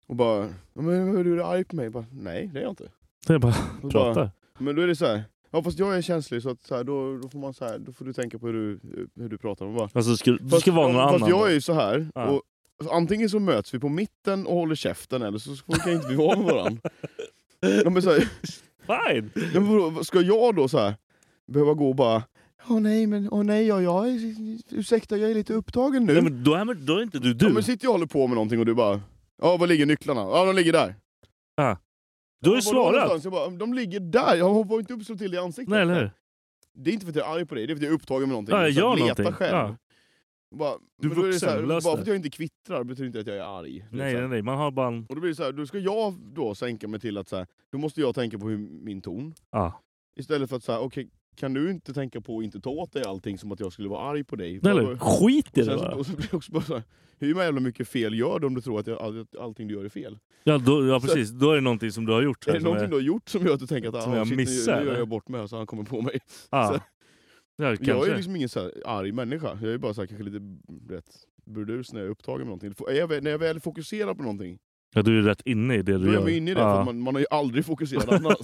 Speaker 7: Och bara, "Ja, men är du arg på mig? Jag Bara, Nej, det är jag inte.
Speaker 6: Det är bara
Speaker 7: Och bara-
Speaker 6: pratar.
Speaker 7: Men då är det så här, ja fast jag är känslig så att så här, då, då får man så här, då får du tänka på hur du, hur du pratar. Och bara,
Speaker 6: Alltså, du ska, du
Speaker 7: Fast-
Speaker 6: ska vara någon
Speaker 7: ja,
Speaker 6: annan.
Speaker 7: Fast jag
Speaker 6: då.
Speaker 7: är ju så här.
Speaker 6: Ja.
Speaker 7: Och, alltså, antingen så möts vi på mitten och håller käften eller så kan inte vi vara med varandra. ja, men så här,
Speaker 6: Fine!
Speaker 7: ja, men vadå, ska jag då så här behöva gå och bara Åh nej, men åh nej, ja, jag är, ursäkta jag är lite upptagen nu.
Speaker 6: Nej, men då, är, man- då är inte du du.
Speaker 7: Ja, men sitter jag och håller på med någonting och du bara Ja, var ligger nycklarna? Ja, de ligger där.
Speaker 6: du har
Speaker 7: "Ja, var låg
Speaker 6: ju svarat.
Speaker 7: någonstans?" Jag bara, de ligger där! Jag hoppar inte upp så till i ansiktet.
Speaker 6: Nej, eller hur?
Speaker 7: Det är inte för att jag är arg på dig, det är för att jag är upptagen med någonting.
Speaker 6: Ja, jag
Speaker 7: Så här,
Speaker 6: gör
Speaker 7: leta
Speaker 6: någonting.
Speaker 7: själv.
Speaker 6: Ja.
Speaker 7: Bara,
Speaker 6: Du är
Speaker 7: men då är det
Speaker 6: vuxen,
Speaker 7: så här, bara
Speaker 6: lös
Speaker 7: för
Speaker 6: det.
Speaker 7: att jag inte kvittrar betyder inte att jag är arg. Det är
Speaker 6: Nej,
Speaker 7: så här.
Speaker 6: nej, nej. Man har bara en...
Speaker 7: Och då blir det så här, då ska jag då sänka mig till att så här, då måste jag tänka på hur, min ton.
Speaker 6: Ja.
Speaker 7: Istället för att så här, okej, kan du inte tänka på att inte ta åt dig allting som att jag skulle vara arg på dig?
Speaker 6: Nej,
Speaker 7: Bara-
Speaker 6: eller hur? Skit i
Speaker 7: och
Speaker 6: det
Speaker 7: sen, så,
Speaker 6: bara.
Speaker 7: och så blir det också bara så här, hur jävla mycket fel gör du om du tror att, jag, att allting du gör är fel?
Speaker 6: Ja, då, ja, precis. Då är det någonting som du har gjort.
Speaker 7: är
Speaker 6: här
Speaker 7: det
Speaker 6: som
Speaker 7: någonting du har gjort som gör att du tänker att ah,
Speaker 6: som jag
Speaker 7: shit,
Speaker 6: missar,
Speaker 7: nu, nu gör
Speaker 6: eller?
Speaker 7: jag bort mig här så han kommer på mig?
Speaker 6: Ja.
Speaker 7: så-
Speaker 6: Ja, kanske.
Speaker 7: Jag är liksom ingen så här arg människa, jag är bara så här, kanske lite rätt burdus när jag är upptagen med någonting. Är jag, väl- när jag väl fokuserar på någonting,
Speaker 6: ja, du är rätt inne i det du
Speaker 7: då är
Speaker 6: gör.
Speaker 7: jag inne i det,
Speaker 6: Ja.
Speaker 7: för att man, man har ju aldrig fokuserat annars.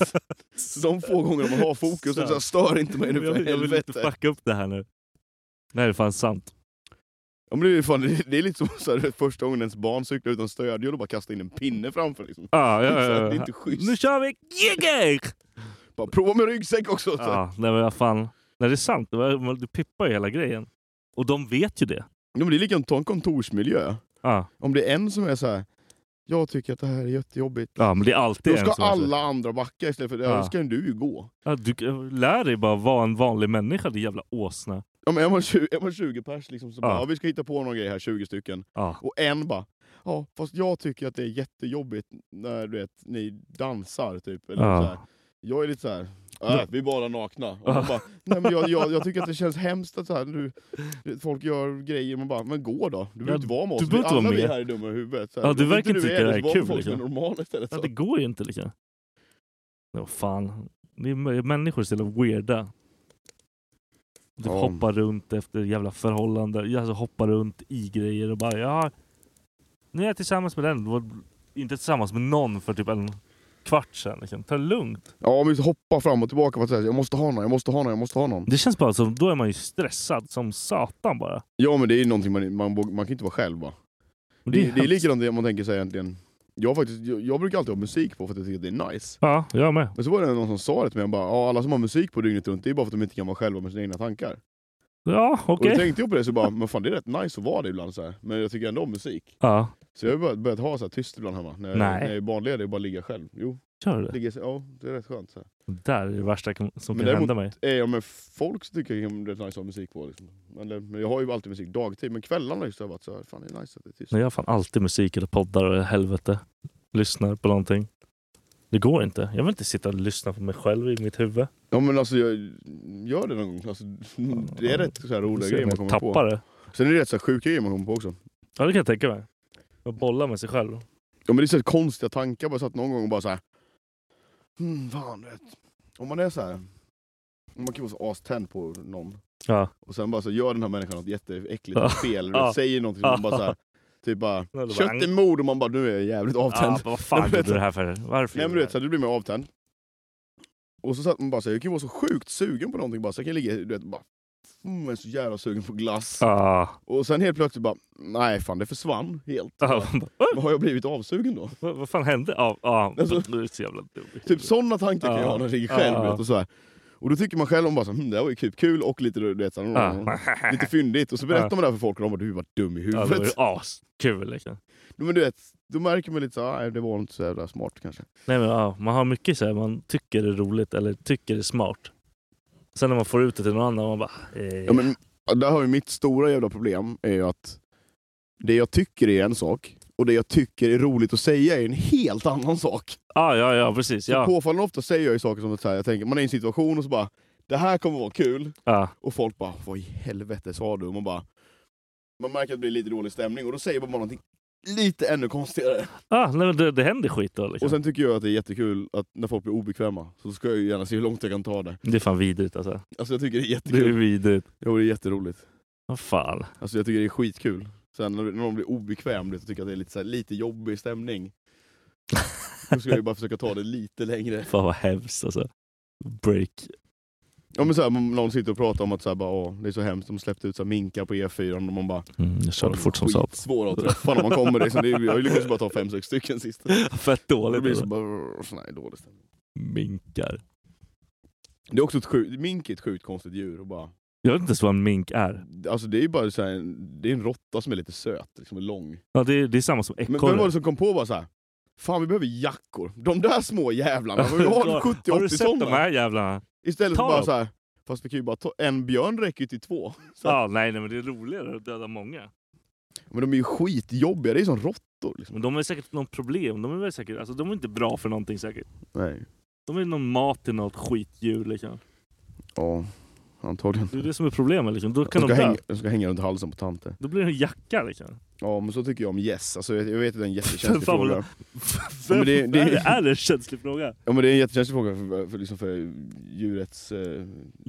Speaker 7: Så de få gånger man har fokus, så här, stör inte mig nu
Speaker 6: jag,
Speaker 7: för
Speaker 6: vill- jag vill inte
Speaker 7: helvete.
Speaker 6: fucka upp det här nu. Nej, det är fan sant.
Speaker 7: Ja, men det, är ju fan, det, är- det är lite som så här, första gången ens barn cyklar utan stödhjul och bara kastar in en pinne framför. Liksom.
Speaker 6: Ja,
Speaker 7: Så
Speaker 6: ja,
Speaker 7: här,
Speaker 6: ja, ja.
Speaker 7: Det är inte schysst.
Speaker 6: Nu kör vi! Jäger!
Speaker 7: Bara, prova med ryggsäck också! Så här.
Speaker 6: Ja, nej, men vad fan. Nej, det är sant. Det var- Du pippar ju hela grejen. Och de vet ju det.
Speaker 7: Ja, men det är likadant, ta en kontorsmiljö.
Speaker 6: Ja,
Speaker 7: Om det är en som är så här. jag tycker att det här är jättejobbigt.
Speaker 6: ja men det är alltid
Speaker 7: Då
Speaker 6: en
Speaker 7: ska
Speaker 6: som är så-
Speaker 7: alla andra backa istället för ja.
Speaker 6: Ja.
Speaker 7: då ska du ju gå.
Speaker 6: Ja, du lär dig bara vara en vanlig människa, din jävla åsna.
Speaker 7: Ja, men är, man 20, är man 20 pers liksom, så bara,
Speaker 6: Ja.
Speaker 7: ja, vi ska hitta på någon grej här, 20 stycken.
Speaker 6: Ja.
Speaker 7: Och en bara, ja fast jag tycker att det är jättejobbigt när du vet, ni dansar typ. Eller
Speaker 6: Ja.
Speaker 7: så här. Jag är lite så här. Äh, vi är bara nakna. Och man
Speaker 6: Ja.
Speaker 7: bara, Nej, men jag, jag, jag tycker att det känns hemskt att så här, nu, folk gör grejer, man bara, men gå då. Du behöver
Speaker 6: Ja,
Speaker 7: inte vara med oss,
Speaker 6: du
Speaker 7: vi,
Speaker 6: behöver inte
Speaker 7: alla
Speaker 6: vara
Speaker 7: vi
Speaker 6: med.
Speaker 7: här är dumma i huvudet. Så här,
Speaker 6: Ja, du
Speaker 7: Om
Speaker 6: verkar inte
Speaker 7: du
Speaker 6: tycka det här
Speaker 7: så
Speaker 6: är
Speaker 7: var med
Speaker 6: kul,
Speaker 7: Folk som är
Speaker 6: liksom.
Speaker 7: normala istället.
Speaker 6: Ja,
Speaker 7: Så.
Speaker 6: det går ju inte liksom. Ja, vad fan. Ni är människor är så jävla weirda. Du
Speaker 7: Ja.
Speaker 6: hoppar runt efter jävla förhållanden. Alltså hoppar runt i grejer och bara ja. Nu är jag tillsammans med den. Du var inte tillsammans med någon för typ en kvart sedan. Liksom. Ta det lugnt.
Speaker 7: Ja, men hoppa fram och tillbaka för att säga, jag måste ha någon, jag måste ha någon, jag måste ha någon.
Speaker 6: Det känns bara som, då är man ju stressad som satan bara.
Speaker 7: Ja men det är ju någonting man, man, våg- man kan inte vara själv va?
Speaker 6: Och
Speaker 7: Det, det, är
Speaker 6: hemskt.
Speaker 7: likadant det man tänker sig egentligen. Jag, har faktiskt, jag, jag brukar alltid ha musik på för att jag tycker att det är nice.
Speaker 6: Ja, jag med.
Speaker 7: Men så var det någon som sa det till mig, han bara, ja, alla som har musik på dygnet runt, det är bara för att de inte kan vara själva med sina egna tankar.
Speaker 6: Ja, okej.
Speaker 7: Och då tänkte jag på det så bara, men fan det är rätt nice att vara det ibland så här. men jag tycker ändå om musik.
Speaker 6: Ja,
Speaker 7: Så jag har börjat, börjat ha så här tyst ibland hemma, när jag,
Speaker 6: Nej.
Speaker 7: när jag är barnledig och bara ligga själv. Jo,
Speaker 6: kör du det?
Speaker 7: ligga, ja det är rätt skönt. Så här.
Speaker 6: Det där är det värsta kan- som
Speaker 7: Men
Speaker 6: kan
Speaker 7: däremot-
Speaker 6: hända mig.
Speaker 7: Är jag med folk så tycker jag det är rätt nice att ha musik på. Liksom. Eller, men jag har ju alltid musik dagtid, men kvällarna just har jag varit så här, fan det är nice att det är tyst.
Speaker 6: Nej, jag har fan alltid musik eller poddar och helvete. Lyssnar på någonting. Det går inte. Jag vill inte sitta och lyssna på mig själv i mitt huvud.
Speaker 7: Ja men alltså jag gör det någon gång. Alltså, det är rätt så här roliga
Speaker 6: Se
Speaker 7: grejer man
Speaker 6: om jag
Speaker 7: kommer
Speaker 6: tappar
Speaker 7: på.
Speaker 6: det.
Speaker 7: Sen är det rätt så här sjuka grejer man kommer på också.
Speaker 6: Ja, det kan jag tänka mig. Att bolla med sig själv.
Speaker 7: Ja men det är så här konstiga tankar. Bara satt någon gång och bara så här. Hmm, fan du vet. Om man är så här. Om man kan vara så aständ på någon.
Speaker 6: Ja.
Speaker 7: Och sen bara så gör den här människan något jätteäckligt
Speaker 6: Ja.
Speaker 7: och fel. Eller du
Speaker 6: Ja.
Speaker 7: vet, säger någonting som man bara så här. Typ bara.
Speaker 6: Ja, det var
Speaker 7: Kött i
Speaker 6: ang-
Speaker 7: mod och man bara nu är jag jävligt avtänd.
Speaker 6: Ja, vad fan gjorde du det här för? Varför?
Speaker 7: Nej men du
Speaker 6: gjorde
Speaker 7: vet, så
Speaker 6: det
Speaker 7: här, du blir mer avtänd. Och så satt man bara så här, jag kan ju vara så sjukt sugen på någonting bara. Så jag kan ligga du vet bara. Mm, jag är så jävla sugen på glass.
Speaker 6: här? Ja.
Speaker 7: Och sen helt plötsligt bara, nej fan det försvann helt.
Speaker 6: Ja, man bara, "Oj,
Speaker 7: Vad har jag blivit avsugen då?
Speaker 6: vad, vad fan hände? Ja, ja.
Speaker 7: Alltså-
Speaker 6: Du är så jävla dum.
Speaker 7: Typ sådana tankar kan jag ha när jag ligger
Speaker 6: Ja.
Speaker 7: själv. vet du, Och, så här.
Speaker 5: Och då tycker man själv om bara så, här, hm, det här var ju typ kul och lite, du vet, så här,
Speaker 6: Ja.
Speaker 5: lite fyndigt. Och så berättar
Speaker 6: Ja.
Speaker 5: man det här för folk och de bara, du var dum i
Speaker 6: Ja, det var ju
Speaker 5: huvudet.
Speaker 6: askul liksom.
Speaker 5: Men du vet, då märker man lite så här, "Ah, det var inte så jävla smart kanske.
Speaker 6: Nej, men, ja, man har mycket så här, man tycker det är roligt eller tycker det är smart. Sen när man får ut det till någon annan, man bara... Eh,
Speaker 5: Ja, men, där har ju mitt stora jävla problem är ju att det jag tycker är en sak och det jag tycker är roligt att säga är en helt annan sak.
Speaker 6: ja, ja, ja, precis.
Speaker 5: Så
Speaker 6: Ja.
Speaker 5: påfallande ofta säger jag ju saker som att så här, jag tänker, man är i en situation och så bara det här kommer vara kul
Speaker 6: Ja.
Speaker 5: och folk bara vad i helvete sa du? Och man bara man märker att det blir lite dålig stämning och då säger man bara någonting lite ännu konstigare.
Speaker 6: Ah, nej, men det, det händer skit då. Liksom.
Speaker 5: Och sen tycker jag att det är jättekul att när folk blir obekväma så ska jag ju gärna se hur långt jag kan ta det.
Speaker 6: Det är fan vidrigt alltså.
Speaker 5: Alltså jag tycker det är
Speaker 6: Det är
Speaker 5: jättekul.
Speaker 6: vidrigt.
Speaker 5: Ja, och det är jätteroligt.
Speaker 6: Vad fan.
Speaker 5: Alltså jag tycker det är skitkul. Sen när när någon blir obekväm, du vet, jag tycker att det är lite, så här, lite jobbig stämning. Då ska jag ju bara försöka ta det lite längre.
Speaker 6: Fan vad hemskt alltså. Break.
Speaker 5: Ja, men så här, om någon sitter och pratar om att så här, bara, Åh, det är så hemskt, de släppte ut så här, minkar på E4 och man bara
Speaker 6: Mm, jag körde fort som satan.
Speaker 5: Svåra att träffa när man kommer. Liksom. Det är, jag har ju lyckats bara ta fem, sex stycken sist.
Speaker 6: Fett
Speaker 5: Det
Speaker 6: dåligt.
Speaker 5: blir
Speaker 6: Det
Speaker 5: så bara, sån här dålig stämning.
Speaker 6: Minkar.
Speaker 5: Det är också ett sjukt, mink är ett sjukt konstigt djur. Och bara,
Speaker 6: Jag vet inte ens vad en mink är.
Speaker 5: alltså det är ju bara så här, en- det är en råtta som är lite söt, liksom, och lång.
Speaker 6: Ja, det, är- det är samma som
Speaker 5: Men vem
Speaker 6: ekorre.
Speaker 5: var det som kom på bara så här? Fan vi behöver jackor. De där små jävlarna, vi har 70-80
Speaker 6: Har du sett
Speaker 5: sådana.
Speaker 6: de här jävlarna?
Speaker 5: Istället för
Speaker 6: Ta
Speaker 5: bara
Speaker 6: dem.
Speaker 5: så här. Fast vi kan ju bara ta, en björn räcker ju till två. Så här,
Speaker 6: Ja, nej, nej, men det är roligare att döda många.
Speaker 5: Men de är ju skitjobbiga, det är ju som råttor. Liksom.
Speaker 6: Men de är säkert något problem. De är väl säkert, alltså de är inte bra för någonting säkert.
Speaker 5: Nej.
Speaker 6: De är någon mat till något skitdjur liksom.
Speaker 5: Ja, antagligen.
Speaker 6: Det är det som är problemet liksom. Då
Speaker 5: De
Speaker 6: kan
Speaker 5: ska,
Speaker 6: de
Speaker 5: hänga,
Speaker 6: dö.
Speaker 5: de ska hänga runt halsen på tanter.
Speaker 6: Då blir det en jacka liksom.
Speaker 5: Ja men så tycker jag om gäss. Alltså, jag vet- jag vet att det är en jättekänslig
Speaker 6: Fan, vad-
Speaker 5: fråga.
Speaker 6: Vem,
Speaker 5: men det-
Speaker 6: det,
Speaker 5: det-
Speaker 6: är en känslig fråga.
Speaker 5: Ja men det är en jättekänslig fråga för, för, liksom för djurets... Eh,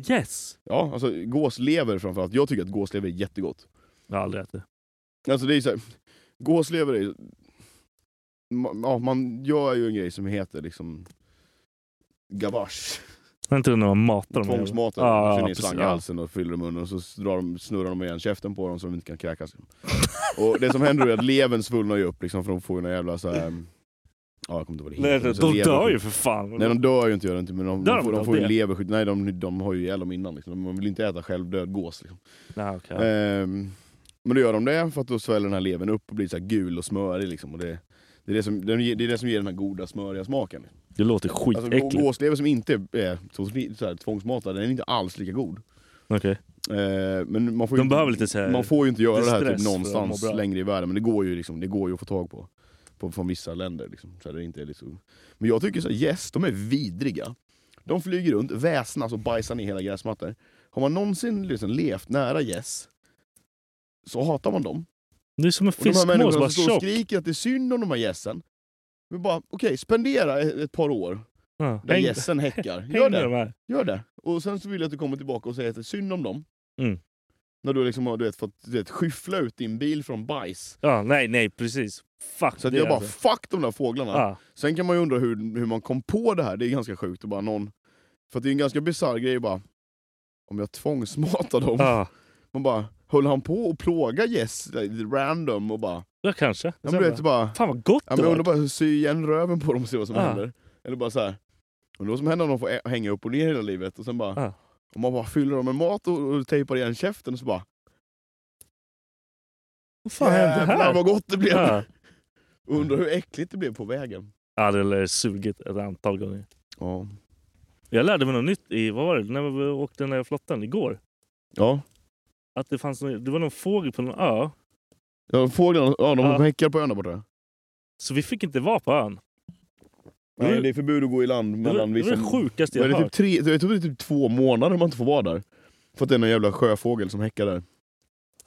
Speaker 6: Yes!
Speaker 5: ja alltså gåslever framförallt. Jag tycker att gåslever är jättegott.
Speaker 6: Jag har aldrig ätit.
Speaker 5: Alltså det är så här, gåslever är ju... ma- Ja, man gör ju en grej som heter liksom... Gavage.
Speaker 6: Har inte det när man matar dem? liksom.
Speaker 5: Tvångsmatar
Speaker 6: Ja,
Speaker 5: dem.
Speaker 6: ja,
Speaker 5: Kör ner
Speaker 6: precis,
Speaker 5: slang i
Speaker 6: ja.
Speaker 5: halsen och fyller i munnen och så drar de, snurrar de igen käften på dem så de inte kan kräkas. Och det som händer då är att levern svullnar ju upp liksom för de får ju några jävla så här... mm, Ja, jag kommer inte ihåg vad det
Speaker 6: Nej,
Speaker 5: heter.
Speaker 6: nej,
Speaker 5: Så
Speaker 6: de
Speaker 5: lever-
Speaker 6: dör ju för fan.
Speaker 5: Nej de dör ju inte gör de inte men de,
Speaker 6: Dör
Speaker 5: de, får,
Speaker 6: de
Speaker 5: de får ju
Speaker 6: av det?
Speaker 5: leverskydd. Nej de, de har ju ihjäl dem innan liksom. Man vill inte äta självdöd gås liksom.
Speaker 6: Nej, okej.
Speaker 5: Ehm, men då gör de det för att då sväller den här levern upp och blir så här gul och smörig. Liksom, och det, det, är det, som, den, ge- det är det som ger den här goda smöriga smaken.
Speaker 6: Det låter
Speaker 5: Alltså,
Speaker 6: skitäckligt.
Speaker 5: gå- gåslever som inte är så, så här, tvångsmatad, den är inte alls lika god.
Speaker 6: Okej.
Speaker 5: Ehm, men man får ju
Speaker 6: De
Speaker 5: inte,
Speaker 6: behöver lite så här-
Speaker 5: man får ju inte göra
Speaker 6: lite
Speaker 5: det här
Speaker 6: stress
Speaker 5: typ
Speaker 6: för att
Speaker 5: någonstans
Speaker 6: må bra.
Speaker 5: längre i världen, men det går ju, liksom, det går ju att få tag på. på från vissa länder. Liksom, så här, det inte är liksom. Men jag tycker så här, yes, de är vidriga. De flyger runt, väsnas och bajsar ner hela gräsmattor. Har man någonsin liksom, levt nära gäss så hatar man dem.
Speaker 6: Det är som en
Speaker 5: Och de här
Speaker 6: fiskmås,
Speaker 5: människorna
Speaker 6: bara
Speaker 5: som står och
Speaker 6: tjock.
Speaker 5: skriker att det är synd om de här gässen. Men bara, okej, spendera ett, ett par år
Speaker 6: Ja,
Speaker 5: där
Speaker 6: häng-
Speaker 5: gässen häckar.
Speaker 6: häng
Speaker 5: Gör
Speaker 6: med
Speaker 5: det,
Speaker 6: de här.
Speaker 5: gör det. Och sen så vill jag att du kommer tillbaka och säger att det är synd om dem.
Speaker 6: Mm.
Speaker 5: När du liksom har du vet, fått du vet, skyffla ut din bil från bajs.
Speaker 6: Ja, nej, nej, precis. Fuck
Speaker 5: Så att
Speaker 6: det
Speaker 5: jag bara,
Speaker 6: alltså.
Speaker 5: fuck de där fåglarna.
Speaker 6: Ja.
Speaker 5: Sen kan man ju undra hur, hur man kom på det här, det är ganska sjukt. att bara någon, för att det är en ganska bisarr grej bara, om jag tvångsmatar dem.
Speaker 6: Ja.
Speaker 5: Man bara, höll han på och plåga gäss like, random och bara...
Speaker 6: ja, kanske.
Speaker 5: Ja,
Speaker 6: Sen
Speaker 5: men du vet,
Speaker 6: bara,
Speaker 5: bara
Speaker 6: Fan vad gott
Speaker 5: Ja,
Speaker 6: det
Speaker 5: men jag
Speaker 6: var.
Speaker 5: undrar bara hur sy igen röven på dem och se vad som
Speaker 6: Ja.
Speaker 5: händer. Eller bara så här. Undrar vad som händer om de får ä- hänga upp och ner hela livet och sen bara...
Speaker 6: Ja.
Speaker 5: Om man bara fyller dem med mat och, och tejpar igen käften och så bara...
Speaker 6: Vad fan hände
Speaker 5: "Jävlar,
Speaker 6: här?
Speaker 5: vad gott det blev!
Speaker 6: Ja.
Speaker 5: Och Undrar hur äckligt det blev på vägen.
Speaker 6: Ja, det lär sugit ett antal gånger.
Speaker 5: Ja.
Speaker 6: Jag lärde mig något nytt i, vad var det, när vi åkte den där flottan igår.
Speaker 5: Ja.
Speaker 6: Att det fanns någon, det var någon fågel på någon ö.
Speaker 5: ja fåglarna, ja, de
Speaker 6: Ja.
Speaker 5: häckar på ön där borta.
Speaker 6: Så vi fick inte vara på ön. Det
Speaker 5: Nej,
Speaker 6: var-
Speaker 5: det är förbud att gå i land
Speaker 6: Det var,
Speaker 5: mellan
Speaker 6: det var
Speaker 5: vissa...
Speaker 6: det sjukaste
Speaker 5: Men
Speaker 6: jag
Speaker 5: det är
Speaker 6: hört.
Speaker 5: typ tre, jag tror det är typ två månader man inte får vara där. För att det är någon jävla sjöfågel som häckar där.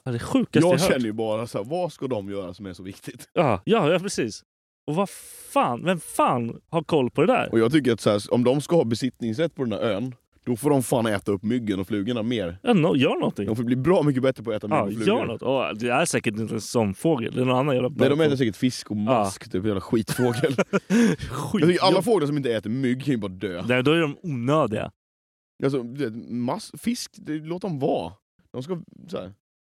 Speaker 6: Ja, det sjukaste jag,
Speaker 5: Jag
Speaker 6: hört.
Speaker 5: känner ju bara så här, vad ska de göra som är så viktigt?
Speaker 6: Ja, ja, ja, precis. Och vad fan, vem fan har koll på det där?
Speaker 5: Och jag tycker att så här, om de ska ha besittningsrätt på den här ön, då får de fan äta upp myggen och flugorna mer.
Speaker 6: Ja, no, gör någonting.
Speaker 5: De får bli bra mycket bättre på att äta mygg
Speaker 6: Ja,
Speaker 5: och flugor.
Speaker 6: gör något. Åh, det är säkert inte en sån fågel. Det är någon annan jävla
Speaker 5: Nej, de äter säkert fisk och mask, typ jävla skitfågel. jag tycker alla fåglar som inte äter mygg kan ju bara dö.
Speaker 6: Nej, då är de onödiga.
Speaker 5: Alltså, du vet, mas- fisk, det, låt dem vara. De ska, så här,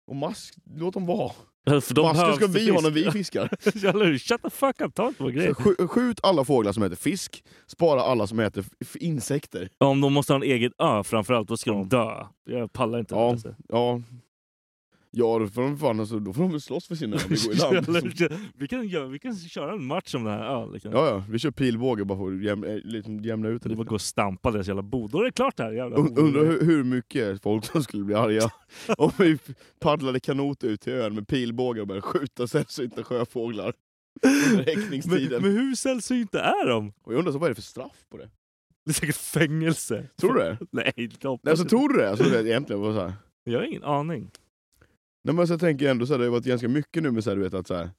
Speaker 5: och mask, låt dem vara.
Speaker 6: För de
Speaker 5: Bastu
Speaker 6: behövs
Speaker 5: ska
Speaker 6: till
Speaker 5: vi ha när
Speaker 6: fisk.
Speaker 5: vi fiskar.
Speaker 6: Jag lär, shut the fuck up, ta inte på grejer.
Speaker 5: Så skj- Skjut alla fåglar som äter fisk, spara alla som äter f- insekter.
Speaker 6: Om de måste ha en egen ö framförallt, då ska de dö. Jag pallar inte.
Speaker 5: Ja,
Speaker 6: det.
Speaker 5: ja. Ja, då får de, fan, alltså, då får de väl slåss för sina när vi går i
Speaker 6: Jag
Speaker 5: land.
Speaker 6: lär- vi, kan, göra- vi kan köra en match om den här ön. Liksom.
Speaker 5: Ja, ja, vi kör pilbåge bara för att jämna, eh, liksom, jämna ut det
Speaker 6: Det
Speaker 5: lite.
Speaker 6: bara gå och stampa deras jävla bo. Då är det klart det här jävla
Speaker 5: Und- Undrar hur, hur mycket folk som skulle bli arga om vi paddlade kanot ut till ön med pilbågar och började skjuta sällsynta sjöfåglar under
Speaker 6: men,
Speaker 5: häckningstiden.
Speaker 6: men hur sällsynta är de?
Speaker 5: Och jag undrar så vad är det för straff på det?
Speaker 6: Det är säkert fängelse.
Speaker 5: Tror du det?
Speaker 6: Nej, det hoppas
Speaker 5: Nej, så
Speaker 6: jag
Speaker 5: tror du det? Alltså, det egentligen var så här.
Speaker 6: inte. Jag har ingen aning.
Speaker 5: Nej, men så tänker jag ändå så här, det har varit ganska mycket nu med så här, du vet att så här,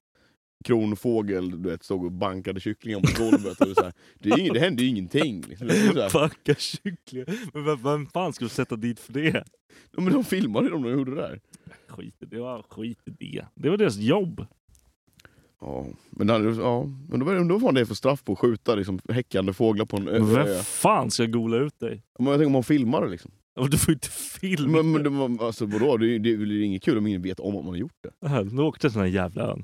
Speaker 5: kronfågel du vet, stod och bankade kycklingar på golvet. Och så här, det, är ing- det hände ju ingenting. Liksom. Det är så här,
Speaker 6: Backa kycklingar. Men vem, vem fan skulle sätta dit för det?
Speaker 5: Ja, men de filmade ju dem när de gjorde det där.
Speaker 6: Skit i det. Var, skit i det. Det var deras jobb.
Speaker 5: Ja, men, det hade, ja, men då var det undrar vad fan det är för straff på att skjuta liksom, häckande fåglar på en ö.
Speaker 6: Men
Speaker 5: ö.
Speaker 6: vem fan ska gola ut dig?
Speaker 5: Men jag tänker om man filmar det liksom.
Speaker 6: Och Du får inte filma.
Speaker 5: Men, men det, var- alltså, vadå? Det, är ju- det är väl inget kul om ingen vet om att man har gjort det.
Speaker 6: Här, Nu åkte den här jävla ön.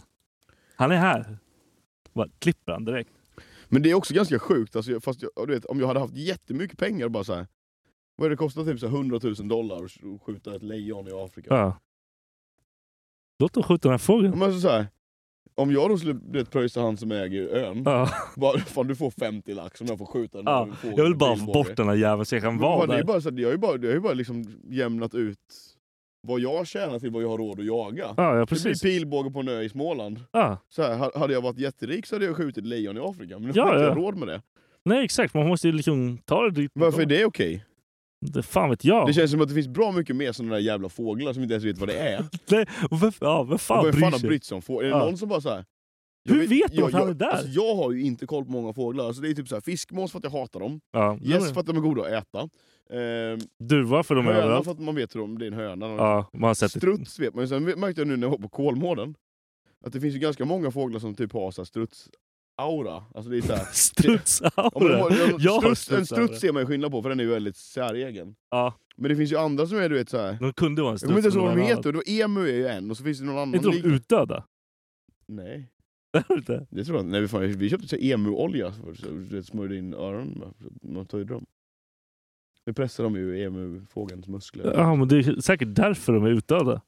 Speaker 6: Han är här. Bara klipper han direkt.
Speaker 5: Men det är också ganska sjukt, alltså, jag- fast jag, ja, du vet, om jag hade haft jättemycket pengar bara så här. Vad är det kostar typ så här 100 000 dollar att skjuta ett lejon i Afrika?
Speaker 6: Ja. Låt dem skjuta den här fågeln.
Speaker 5: Men alltså, så här, om jag då skulle du vet, pröjsa han som äger ön,
Speaker 6: Ja.
Speaker 5: bara, fan du får 50 lax om jag får skjuta den här
Speaker 6: Ja.
Speaker 5: fågeln
Speaker 6: Jag vill
Speaker 5: med
Speaker 6: bara få
Speaker 5: pilbåge."
Speaker 6: bort den här jäveln så jag kan
Speaker 5: Men
Speaker 6: vara
Speaker 5: fan, det är
Speaker 6: där.
Speaker 5: ju bara så här, Jag har ju bara, jag har ju bara liksom jämnat ut vad jag tjänar till vad jag har råd att jaga.
Speaker 6: Ja, ja
Speaker 5: Det
Speaker 6: precis.
Speaker 5: blir pilbåge på en ö i Småland.
Speaker 6: Ja.
Speaker 5: Så här, ha- hade jag varit jätterik så hade jag skjutit lejon i Afrika, men nu
Speaker 6: Ja,
Speaker 5: har jag
Speaker 6: ja.
Speaker 5: inte råd med det.
Speaker 6: Nej exakt, man måste ju liksom ta det dit.
Speaker 5: Varför är det okej?
Speaker 6: det? Fan vet jag.
Speaker 5: Det känns som att det finns bra mycket mer sådana där jävla fåglar som inte ens vet vad det är.
Speaker 6: Nej, och vem, ja, vem fan
Speaker 5: Och
Speaker 6: bryr
Speaker 5: Vem fan har
Speaker 6: sig?
Speaker 5: brytt sig om fåglar? Är det
Speaker 6: Ja.
Speaker 5: någon som bara såhär...
Speaker 6: Hur vet de att han är där?
Speaker 5: Alltså, jag har ju inte koll på många fåglar. Alltså, det är typ så här, fiskmås för att jag hatar dem,
Speaker 6: Ja,
Speaker 5: gäss
Speaker 6: men-
Speaker 5: för att de är goda att äta, ehm,
Speaker 6: Duva för de är
Speaker 5: höna
Speaker 6: överallt.
Speaker 5: för att man vet hur de, det är en höna.
Speaker 6: Ja, man har sett det.
Speaker 5: Struts vet man ju. Sen märkte jag nu när jag var på Kolmården, att det finns ju ganska många fåglar som typ har så här struts-aura. Alltså det är så här, Ja, men de har,
Speaker 6: Strutsaura!
Speaker 5: de,
Speaker 6: Jag har
Speaker 5: struts, en struts
Speaker 6: strutsaura.
Speaker 5: ser man ju skillnad på för den är ju väldigt säregen.
Speaker 6: Ja,
Speaker 5: Men det finns ju andra som är du vet såhär...
Speaker 6: de kunde vara en
Speaker 5: Jag
Speaker 6: struts.
Speaker 5: kommer inte ens
Speaker 6: men
Speaker 5: ihåg vad
Speaker 6: de
Speaker 5: de
Speaker 6: var en
Speaker 5: heter, då emu är ju en och så finns det någon
Speaker 6: annan.
Speaker 5: annan...
Speaker 6: Är inte
Speaker 5: lik-
Speaker 6: de utdöda?
Speaker 5: Nej,
Speaker 6: Är de inte?
Speaker 5: det tror jag inte. Nej, vi, fan, vi köpte så här emu-olja för så du vet, smörjde in öronen med. Så Man tar ju dem. Nu pressar de ju emu-fågelns muskler.
Speaker 6: Ja, men det är säkert därför de är utdöda.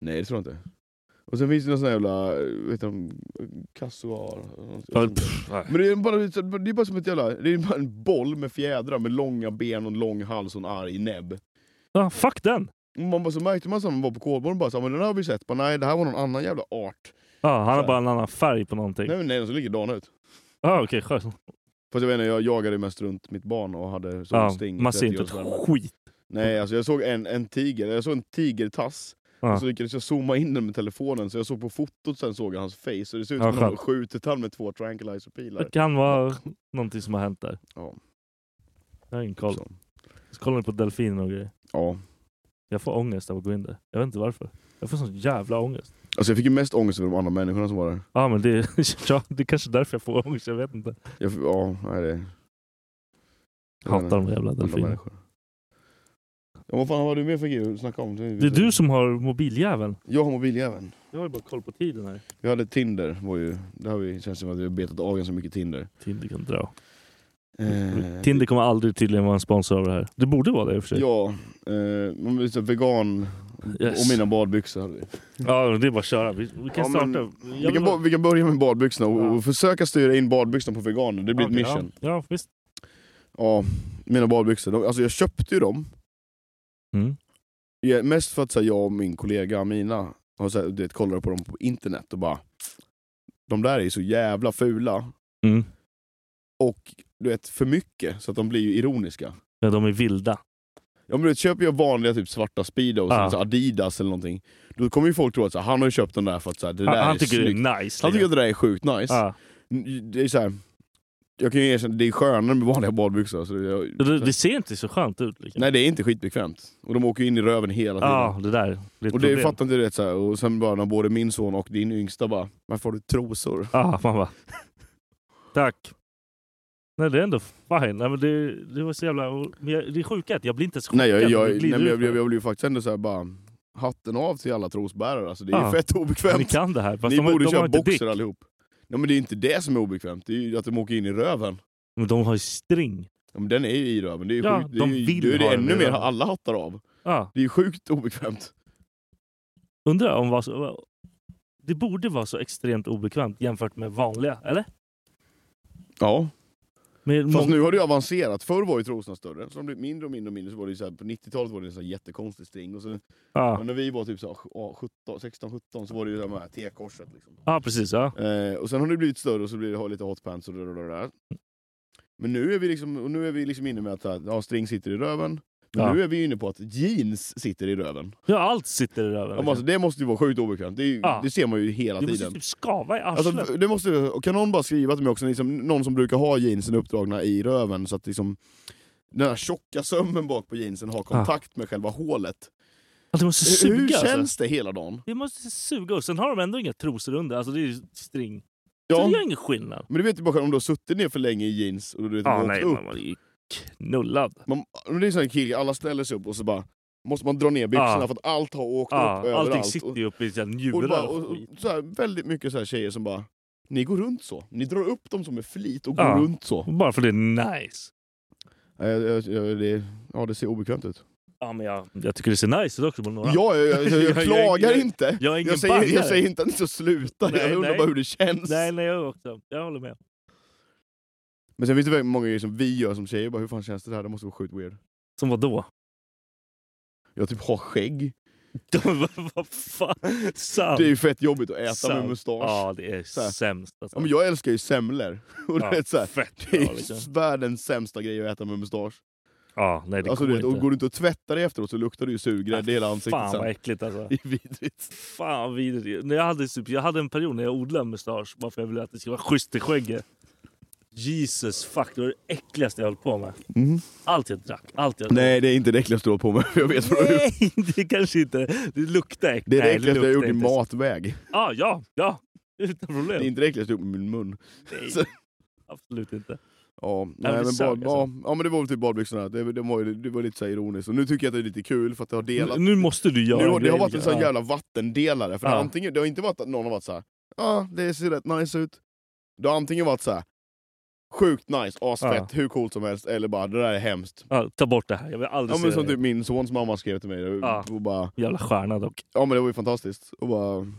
Speaker 5: Nej, det tror jag inte. Och sen finns det någon sån här jävla, vet du, kassoar.
Speaker 6: Ja, pff, nej.
Speaker 5: Men det är, bara, det är bara som ett jävla, det är bara en boll med fjädrar med långa ben och en lång hals och en arg näbb.
Speaker 6: Ja, fuck den!
Speaker 5: Man bara, så märkte man sen man var på Kolmården bara så här, men den här har vi sett, bara, nej det här var någon annan jävla art.
Speaker 6: Ja, han
Speaker 5: Så
Speaker 6: har
Speaker 5: här.
Speaker 6: bara en annan färg på någonting.
Speaker 5: Nej men nej, den såg likadan ut.
Speaker 6: Ja, okej, skönt.
Speaker 5: Fast jag vet inte, jag jagade ju mest runt mitt barn och hade
Speaker 6: Ja,
Speaker 5: solsting. i
Speaker 6: man ser
Speaker 5: 30
Speaker 6: inte
Speaker 5: års värme.
Speaker 6: ett skit.
Speaker 5: Nej alltså jag såg en, en tiger, jag såg en tigertass.
Speaker 6: Ja.
Speaker 5: Och så lyckades jag zooma in den med telefonen så jag såg på fotot sen såg jag hans face. Och det ser ut
Speaker 6: Ja,
Speaker 5: som att han
Speaker 6: skönt.
Speaker 5: skjutit han med två tranquilizer-pilar.
Speaker 6: Det kan vara någonting som har hänt där.
Speaker 5: Ja.
Speaker 6: Jag har ingen koll.
Speaker 5: Så.
Speaker 6: Så kollar ni på delfiner och grejer.
Speaker 5: Ja.
Speaker 6: Jag får ångest av att gå in där. Jag vet inte varför. Jag får sån jävla ångest.
Speaker 5: Alltså jag fick ju mest ångest över de andra människorna som var där.
Speaker 6: Ja men det, ja, det är kanske är därför jag får ångest, jag vet inte.
Speaker 5: Jag, ja, nej det... jag vet
Speaker 6: Hatar
Speaker 5: inte.
Speaker 6: de jävla
Speaker 5: Andra
Speaker 6: delfinerna.
Speaker 5: människor. Ja, vad fan vad har du mer för grejer att snacka om?
Speaker 6: Det är du som har mobiljäveln.
Speaker 5: Jag har mobiljäveln.
Speaker 6: Jag har ju bara koll på tiden här.
Speaker 5: Vi hade Tinder, var ju... Det har vi känns som att vi har betat av ganska mycket Tinder.
Speaker 6: Tinder kan dra.
Speaker 5: Eh,
Speaker 6: Tinder kommer aldrig tydligen vara en sponsor av det här. Det borde vara det i och för sig.
Speaker 5: Ja, eh, man blir så här vegan
Speaker 6: Yes.
Speaker 5: och mina badbyxor hade vi.
Speaker 6: Ja, men det är bara att köra. Vi, vi kan
Speaker 5: Ja,
Speaker 6: starta.
Speaker 5: men
Speaker 6: Jag
Speaker 5: Vi
Speaker 6: vill
Speaker 5: kan,
Speaker 6: ha-
Speaker 5: bo- vi kan börja med badbyxorna och,
Speaker 6: Ja.
Speaker 5: och försöka styra in badbyxorna på veganer, det blir
Speaker 6: Okej,
Speaker 5: ett mission.
Speaker 6: Ja, ja visst.
Speaker 5: Ja, mina badbyxor. De, alltså jag köpte ju dem
Speaker 6: Mm.
Speaker 5: Ja, mest för att så här, jag och min kollega Amina har så här, du vet, kollat på dem på internet och bara De där är ju så jävla fula
Speaker 6: Mm.
Speaker 5: och du vet, för mycket så att de blir ju ironiska.
Speaker 6: Ja, de är vilda.
Speaker 5: Ja, men du vet, köper jag vanliga typ svarta Speedos,
Speaker 6: Ja.
Speaker 5: eller så här Adidas eller någonting, då kommer ju folk tro att så här, han har ju köpt den där för att så här, det där
Speaker 6: Han,
Speaker 5: är
Speaker 6: han tycker
Speaker 5: snyggt.
Speaker 6: det är nice.
Speaker 5: Han tycker
Speaker 6: liksom.
Speaker 5: att det där är sjukt nice.
Speaker 6: ja.
Speaker 5: Det är så här, jag kan ju erkänna, det är skönare med vanliga badbyxor. Så det, jag,
Speaker 6: det, det ser inte så skönt ut. Liksom.
Speaker 5: nej, det är inte skitbekvämt. Och de åker ju in i röven hela tiden.
Speaker 6: Ja, det där. Det är ett
Speaker 5: Och det
Speaker 6: problem.
Speaker 5: fattar inte du vet såhär, och sen bara när både min son och din yngsta bara Varför har du trosor?
Speaker 6: Ja, man bara... Tack. Nej, det är ändå fine. Nej, men det, det var så jävla... Men jag, det är sjuka är att jag blir inte ens
Speaker 5: Nej jag,
Speaker 6: chockad när
Speaker 5: jag,
Speaker 6: det
Speaker 5: nej,
Speaker 6: glider
Speaker 5: men jag,
Speaker 6: ut.
Speaker 5: jag, jag blev ju faktiskt ändå såhär bara hatten av till alla trosbärare. Alltså, det är
Speaker 6: Ja.
Speaker 5: ju fett obekvämt.
Speaker 6: Ni kan det här, fast
Speaker 5: Ni
Speaker 6: de, har-
Speaker 5: borde
Speaker 6: de har
Speaker 5: köra
Speaker 6: inte
Speaker 5: boxer
Speaker 6: dick.
Speaker 5: allihop. Nej, men det är ju inte det som är obekvämt, det är ju att de åker in i röven.
Speaker 6: Men de har ju string.
Speaker 5: Ja, men den är ju i röven, det är ju
Speaker 6: Ja,
Speaker 5: sjukt. Det är
Speaker 6: de
Speaker 5: ju,
Speaker 6: vill
Speaker 5: då är
Speaker 6: ha
Speaker 5: det
Speaker 6: den i
Speaker 5: ännu mer
Speaker 6: röven.
Speaker 5: alla hattar av.
Speaker 6: Ja.
Speaker 5: Det är ju sjukt obekvämt.
Speaker 6: Undrar om vad så- Det borde vara så extremt obekvämt jämfört med vanliga, eller?
Speaker 5: Ja.
Speaker 6: Men
Speaker 5: Fast
Speaker 6: mång-
Speaker 5: nu har det ju avancerat. Förr var ju trosorna större, så de blev mindre och mindre och mindre. Så var det ju så här, på 90-talet var det en sån här jättekonstig string. Och sen,
Speaker 6: Ja.
Speaker 5: Men när vi var typ så här, ja, 17, 16, 17 så var det ju de här T-korset. Liksom.
Speaker 6: Ja, precis. Ja.
Speaker 5: Eh, och sen har det blivit större och så blir det ha lite hotpants och där, där, där, där. Men nu är vi liksom, och nu är vi liksom inne med att så här, ja, string sitter i röven. Men
Speaker 6: Ja.
Speaker 5: nu är vi inne på att jeans sitter i röven.
Speaker 6: ja, allt sitter i
Speaker 5: Ja,
Speaker 6: röven.
Speaker 5: men alltså, det måste ju vara sjukt obekvämt. Det, är ju,
Speaker 6: Ja.
Speaker 5: det ser man ju hela
Speaker 6: du måste
Speaker 5: tiden.
Speaker 6: typ skava i
Speaker 5: Alltså,
Speaker 6: arslet.
Speaker 5: det måste, och kan någon bara skriva till mig också, liksom, någon som brukar ha jeansen uppdragna i röven så att liksom, den här tjocka sömmen bak på jeansen har kontakt med själva hålet.
Speaker 6: Att det måste
Speaker 5: Hur-
Speaker 6: suga
Speaker 5: Hur känns
Speaker 6: alltså.
Speaker 5: det hela dagen?
Speaker 6: Det måste suga. Och sen har de ändå inga trosor under. Alltså det är ju string.
Speaker 5: Ja.
Speaker 6: Så det gör ingen skillnad.
Speaker 5: Men du vet ju bara själv, om du har suttit ner för länge i jeans och du vet,
Speaker 6: Ja,
Speaker 5: ah, åkt
Speaker 6: nej,
Speaker 5: upp.
Speaker 6: man var ju knullad.
Speaker 5: Man, men det är så här kille, alla ställer sig upp och så bara måste man dra ner byxorna
Speaker 6: Ja.
Speaker 5: för att allt har åkt upp
Speaker 6: Ja,
Speaker 5: överallt.
Speaker 6: allting sitter ju uppe i sina
Speaker 5: och, och, bara,
Speaker 6: njurar.
Speaker 5: och,
Speaker 6: och
Speaker 5: och,
Speaker 6: skit.
Speaker 5: så här, väldigt mycket så här tjejer som bara, ni går runt så. Ni drar upp dem som med flit och går
Speaker 6: Ja.
Speaker 5: runt så.
Speaker 6: Bara för det är nice.
Speaker 5: Ja, ja, ja, det, ja, det ser obekvämt ut.
Speaker 6: Ja, men jag, jag tycker det ser nice ut också på några.
Speaker 5: Ja, jag, jag, jag,
Speaker 6: är
Speaker 5: klagar
Speaker 6: ingen-
Speaker 5: inte.
Speaker 6: Jag är ingen
Speaker 5: Jag säger, jag
Speaker 6: bangare.
Speaker 5: säger inte att ni ska sluta,
Speaker 6: Nej,
Speaker 5: jag undrar
Speaker 6: nej.
Speaker 5: bara hur det känns.
Speaker 6: Nej, nej, jag också. Jag håller med.
Speaker 5: Men sen finns det väldigt många grejer som vi gör som tjejer, bara hur fan känns det här? Det måste vara sjukt weird.
Speaker 6: Som vad då?
Speaker 5: Jag typ har skägg.
Speaker 6: vad fan? Sant.
Speaker 5: Det är ju fett jobbigt att äta med
Speaker 6: Sant.
Speaker 5: mustasch.
Speaker 6: Ja, det är
Speaker 5: Så här.
Speaker 6: sämst. Alltså.
Speaker 5: Ja, men jag älskar ju semlor. Och
Speaker 6: Ja,
Speaker 5: det, är så här,
Speaker 6: fett
Speaker 5: det är
Speaker 6: bra, liksom.
Speaker 5: ju världens sämsta grej att äta med mustasch.
Speaker 6: Ja, nej det
Speaker 5: Alltså,
Speaker 6: går
Speaker 5: du vet, och
Speaker 6: inte.
Speaker 5: går du inte och tvättar dig efteråt så luktar du ju surgrädde i hela ansiktet
Speaker 6: Fan
Speaker 5: sen.
Speaker 6: vad äckligt alltså.
Speaker 5: Det är vidrigt.
Speaker 6: Fan vad vidrigt. När jag, hade, typ, jag hade en period när jag odlade mustasch bara för jag ville att det skulle vara schysst i skägget. Jesus fuck, det var det äckligaste jag höll på med. Allt jag drack, allt jag drack.
Speaker 5: Mhm. Nej, det är inte det äckligaste du har på mig. Jag vet vad du har gjort.
Speaker 6: Nej, det kanske inte... Det luktar äckligt.
Speaker 5: Det är det
Speaker 6: Nej,
Speaker 5: äckligaste jag har gjort
Speaker 6: luktar
Speaker 5: i
Speaker 6: inte.
Speaker 5: matväg.
Speaker 6: Ja, ja, ja. Utan
Speaker 5: Det
Speaker 6: problem.
Speaker 5: är inte det äckligaste jag har gjort med min mun.
Speaker 6: Nej,
Speaker 5: Så-
Speaker 6: absolut inte.
Speaker 5: Ja,
Speaker 6: men
Speaker 5: nej, men
Speaker 6: det
Speaker 5: bad,
Speaker 6: sög,
Speaker 5: ja, ja, men det var väl typ badbyxorna. Det, det, var, ju- det var lite så här ironiskt. Och nu tycker jag att det är lite kul för att det har delat.
Speaker 6: Nu, nu måste du göra
Speaker 5: nu, har- det har
Speaker 6: grejer,
Speaker 5: varit en sån här
Speaker 6: ja.
Speaker 5: jävla vattendelare. För det,
Speaker 6: Ja.
Speaker 5: har antingen, det har inte varit att någon har varit så här. ja det ser rätt nice ut. Det har antingen varit så här. sjukt nice, asfett,
Speaker 6: Ja.
Speaker 5: hur coolt som helst. Eller bara, det där är hemskt.
Speaker 6: Ja, ta bort det här. Jag vill aldrig
Speaker 5: Ja, men
Speaker 6: se
Speaker 5: som
Speaker 6: det.
Speaker 5: typ min sons mamma skrev till mig.
Speaker 6: Ja.
Speaker 5: Och bara,
Speaker 6: Jävla stjärna dock.
Speaker 5: ja men det var ju fantastiskt. Och bara,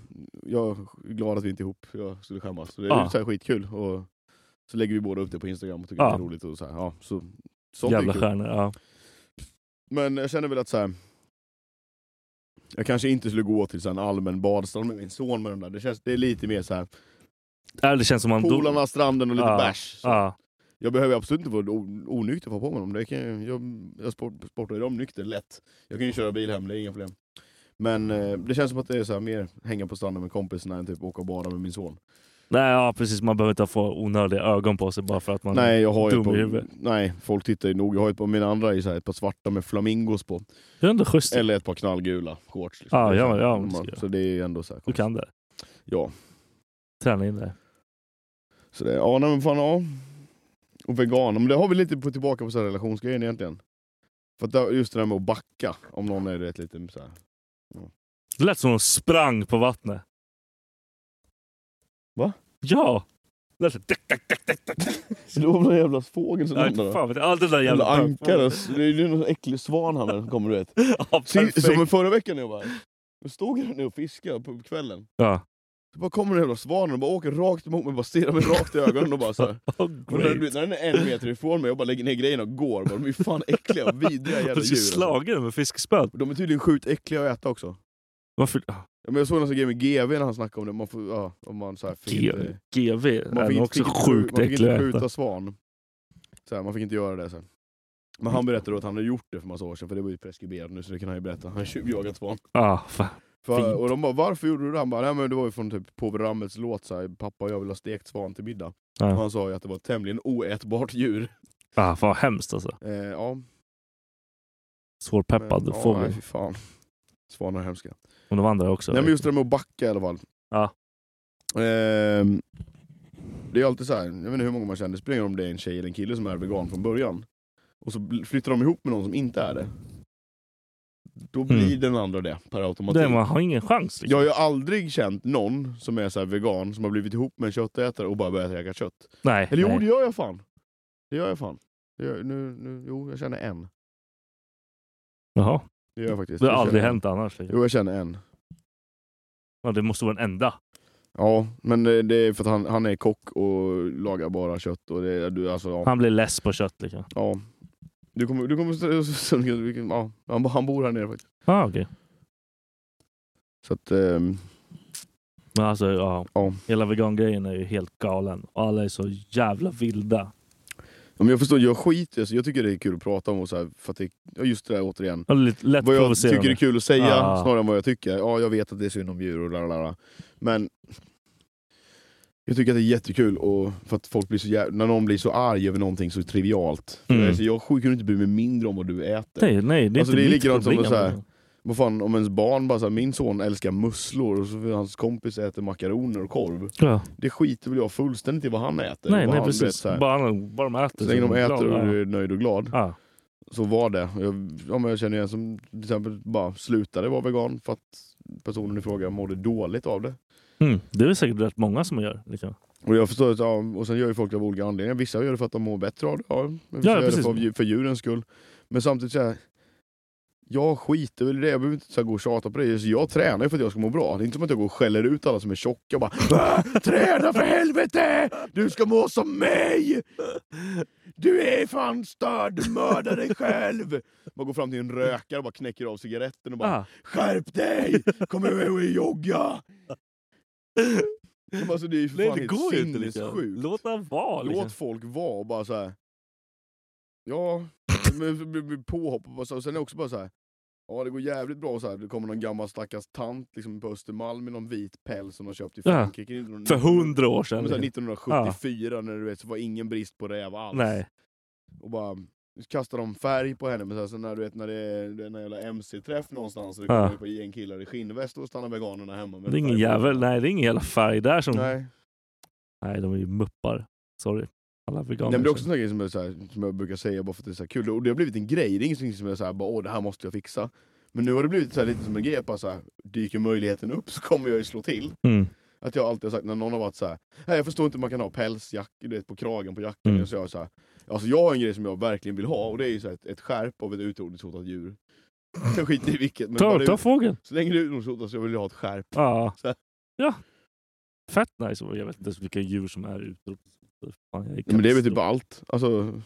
Speaker 5: jag är glad att vi inte är ihop, jag skulle skämmas. Så det är
Speaker 6: Ja.
Speaker 5: så här skitkul. Och så lägger vi båda upp det på Instagram och tycker
Speaker 6: Ja.
Speaker 5: att det är roligt. Och så här, ja, så, sånt är
Speaker 6: Jävla
Speaker 5: kul.
Speaker 6: stjärnor. Ja.
Speaker 5: Men jag känner väl att så här. Jag kanske inte skulle gå till så här en allmän badstrand med min son med de där. Det, känns, det är lite mer så här.
Speaker 6: Ja, det känns som man...
Speaker 5: Polarna, stranden och lite
Speaker 6: Ja.
Speaker 5: bärs. Så
Speaker 6: Ja.
Speaker 5: Jag behöver absolut inte vara o- onykter för att ha på mig dem. Det kan jag, jag, jag sport, sportar ju dem nykter lätt. Jag kan ju köra bil hem, det är inga problem. Men eh, det känns som att det är så här mer hänga på stranden med kompisarna än typ åka och bada med min son.
Speaker 6: Nej, ja, precis. Man behöver inte få onödiga ögon på sig bara för att man
Speaker 5: nej, jag har ju
Speaker 6: är dum
Speaker 5: ett par-
Speaker 6: i huvudet.
Speaker 5: nej, folk tittar ju nog. Jag har ju ett par, mina andra är ju så här, ett par svarta med flamingos på.
Speaker 6: Det är ändå schysst.
Speaker 5: Eller ett par knallgula shorts.
Speaker 6: Ja,
Speaker 5: Det är så här,
Speaker 6: ja, ja,
Speaker 5: man-
Speaker 6: det ska
Speaker 5: så det är ju ändå så här
Speaker 6: Du kan det.
Speaker 5: Ja.
Speaker 6: Träna in det.
Speaker 5: Så det, ja nej, men fan ja. Och vegan, men det har vi lite på, tillbaka på så här relationsgrejen egentligen. För att där- just det där med att backa, om någon är rätt lite så här.
Speaker 6: Det lät som hon sprang på vattnet.
Speaker 5: Va?
Speaker 6: Ja! Det lät så...
Speaker 5: Så det var väl en jävla fågel som
Speaker 6: Nej,
Speaker 5: landade?
Speaker 6: fan vet jag. Allt det där
Speaker 5: Jävla
Speaker 6: jävla...
Speaker 5: ankare, det är ju någon äcklig svan han är, kommer du vet.
Speaker 6: Ja,
Speaker 5: Sin-
Speaker 6: perfekt.
Speaker 5: Som förra veckan när jag var här. Då stod jag ner och fiskade på kvällen.
Speaker 6: Ja.
Speaker 5: Så bara kommer den jävla svanen och bara åker rakt emot mig, bara stirrar mig rakt i ögonen och bara så här.
Speaker 6: Oh,
Speaker 5: Och när, den-
Speaker 6: great.
Speaker 5: när den är en meter ifrån mig, jag bara lägger ner grejerna och går. Bara, de är ju fan äckliga och vidriga jävla
Speaker 6: Har du
Speaker 5: djur. Alltså.
Speaker 6: slagit den med fiskspöet?
Speaker 5: De är tydligen sjukt äckliga att äta också.
Speaker 6: Varför?
Speaker 5: Ja, men jag såg en sån grej med GV när han snackade om det. Man får, ja, om man så här, fick
Speaker 6: G-
Speaker 5: inte,
Speaker 6: GV
Speaker 5: man fick inte,
Speaker 6: är också
Speaker 5: fick inte-
Speaker 6: sjukt
Speaker 5: Man fick
Speaker 6: äcklig
Speaker 5: inte
Speaker 6: att
Speaker 5: skjuta
Speaker 6: äta.
Speaker 5: svan. Så här, man fick inte göra det. Så här. Men han berättade då att han hade gjort det för massa år sedan, för det var ju preskriberat nu så det kan han ju berätta. Han har tjuvjagat svan.
Speaker 6: Ja, fan.
Speaker 5: För,
Speaker 6: Fint.
Speaker 5: och de bara “Varför gjorde du det?” Han bara “Nej men det var ju från typ Påve Ramels låt, så här, “Pappa och jag vill ha stekt svan till middag”. Och
Speaker 6: Ja.
Speaker 5: han sa ju att det var ett tämligen oätbart djur.
Speaker 6: Ah, fan vad hemskt alltså.
Speaker 5: Eh, ja,
Speaker 6: Svårpeppad
Speaker 5: men, ja, nej,
Speaker 6: fågel.
Speaker 5: fy fan. Svanar är hemska.
Speaker 6: Och de andra också.
Speaker 5: Nej men just det där med att backa i alla fall.
Speaker 6: Ja.
Speaker 5: Ehm, det är alltid så här, jag vet inte hur många man känner, det spelar ingen roll om det är en tjej eller en kille som är vegan från början. Och så bl- flyttar de ihop med någon som inte är det. Då blir
Speaker 6: Mm.
Speaker 5: den andra det per automatik.
Speaker 6: Det, man har ingen chans.
Speaker 5: Jag
Speaker 6: Liksom.
Speaker 5: har ju aldrig känt någon som är så här vegan som har blivit ihop med en köttätare och bara börjat äta kött.
Speaker 6: Nej.
Speaker 5: Eller jo,
Speaker 6: nej.
Speaker 5: det gör jag fan. Det gör jag fan. Det gör, nu, nu, jo, jag känner en.
Speaker 6: Jaha.
Speaker 5: Det gör jag faktiskt.
Speaker 6: Det har
Speaker 5: Jag
Speaker 6: aldrig
Speaker 5: känner en.
Speaker 6: hänt annars. Liksom.
Speaker 5: Jo, jag känner en.
Speaker 6: Ja, det måste vara den enda.
Speaker 5: Ja, men det det är för att han, han är kock och lagar bara kött. Och det, du, alltså, ja.
Speaker 6: Han blir less på kött. Liksom.
Speaker 5: ja. Du kommer... Du kommer ja, han, han bor här nere faktiskt.
Speaker 6: Ah, okay.
Speaker 5: Så att, ehm,
Speaker 6: Men alltså, ja.
Speaker 5: Ja.
Speaker 6: Hela vegangrejen är ju helt galen. Och alla är så jävla vilda.
Speaker 5: ja, men jag förstår, jag skiter alltså, Jag tycker det är kul att prata om och så här, för att det, ja, just det där återigen.
Speaker 6: Och lite lätt
Speaker 5: Vad jag
Speaker 6: provocerande. Ah.
Speaker 5: tycker är kul att säga
Speaker 6: Ja.
Speaker 5: snarare än vad jag tycker. Ja, jag vet att det är synd om djur och lalala. Men jag tycker att det är jättekul och för att folk blir så jävla, när någon blir så arg över någonting så trivialt.
Speaker 6: Mm.
Speaker 5: Alltså, jag kunde inte bry mig mindre om vad du äter.
Speaker 6: Nej, nej, det är
Speaker 5: Alltså,
Speaker 6: inte
Speaker 5: det är
Speaker 6: mitt
Speaker 5: likadant som
Speaker 6: problem.
Speaker 5: att säga- Vad fan om ens barn bara såhär, min son älskar musslor och så vill hans kompis äter makaroner och korv.
Speaker 6: Ja.
Speaker 5: Det skiter väl jag fullständigt i vad han äter.
Speaker 6: Nej,
Speaker 5: vad
Speaker 6: nej
Speaker 5: han, du vet,
Speaker 6: precis.
Speaker 5: så här.
Speaker 6: Bara, bara de äter.
Speaker 5: så länge de
Speaker 6: är
Speaker 5: äter
Speaker 6: glada.
Speaker 5: och du är nöjd och glad
Speaker 6: Ja.
Speaker 5: så var det. Och Jag, ja, men jag känner ju en som till exempel bara slutade vara vegan för att personen i fråga mådde dåligt av det.
Speaker 6: Mm. Det är väl säkert rätt många som gör. Liksom.
Speaker 5: Och jag förstår att, ja, och sen gör ju folk av olika anledningar. Vissa gör det för att de mår bättre av det, ja, men vissa
Speaker 6: Ja,
Speaker 5: gör det
Speaker 6: precis.
Speaker 5: för, av djur- för djurens skull. Men samtidigt så här, jag skiter väl i det, jag behöver inte så här gå och tjata på det. Så jag tränar ju för att jag ska må bra. Det är inte som att jag går och skäller ut alla som är tjocka och bara "Ah, Träna för helvete! Du ska må som mig! Du är fan störd, mörda dig själv! Man går fram till en rökare och bara knäcker av cigaretten och bara
Speaker 6: Ah.
Speaker 5: Skärp dig! Kom ihåg att jogga! Men Alltså, det är ju för
Speaker 6: Nej,
Speaker 5: fan
Speaker 6: det
Speaker 5: helt
Speaker 6: går ju inte. Liksom.
Speaker 5: sinnessjukt.
Speaker 6: Låt den vara. Liksom.
Speaker 5: Låt folk vara och bara så här. Ja, men så blir- blir påhopp och bara så. Och sen är det också bara så här. Ja, det går jävligt bra och så här. Det kommer någon gammal stackars tant liksom, på Östermalm med någon vit päls som de köpt i
Speaker 6: Ja.
Speaker 5: Frankrike. 1900
Speaker 6: För hundra år sedan.
Speaker 5: Men så här,
Speaker 6: liksom.
Speaker 5: 1974 när du vet så var ingen brist på räv alls.
Speaker 6: Nej.
Speaker 5: Och bara kastar de färg på henne. Men så, här, så när du vet när det är det är en jävla MC-träff någonstans och det
Speaker 6: Ja.
Speaker 5: kommer ett gäng killar i skinnväst och stannar veganerna hemma. med
Speaker 6: Det är ingen
Speaker 5: färg på.
Speaker 6: jävel. Nej, det är ingen jävla färg där som... Nej,
Speaker 5: Nej.
Speaker 6: de är ju muppar. Sorry. Alla
Speaker 5: Nej,
Speaker 6: veganer.
Speaker 5: men det är också en sån här grej som, är så här, som jag brukar säga bara för att det är så här kul. Och det har blivit en grej. Det är ingenting som jag säger bara åh det här måste jag fixa. Men nu har det blivit så här, lite som en grej att bara så här, dyker möjligheten upp så kommer jag ju slå till.
Speaker 6: Mm.
Speaker 5: Att jag alltid har sagt när någon har varit så här, nej jag förstår inte hur man kan ha pälsjack du vet, på kragen på jackan.
Speaker 6: Mm.
Speaker 5: Så jag, är så här, alltså jag har en grej som jag verkligen vill ha och det är ju så här, ett, ett skärp av ett utrotningshotat djur. Jag skiter i vilket. Men
Speaker 6: Ta,
Speaker 5: bara
Speaker 6: ta
Speaker 5: ut,
Speaker 6: fågeln.
Speaker 5: så länge det är utrotningshotat så vill jag ha ett skärp.
Speaker 6: Ja.
Speaker 5: Så här.
Speaker 6: ja. Fett nice. Jag vet inte ens vilka djur som är ute. Fan, jag är
Speaker 5: Men det är väl typ
Speaker 6: katastrof.
Speaker 5: allt. Alltså,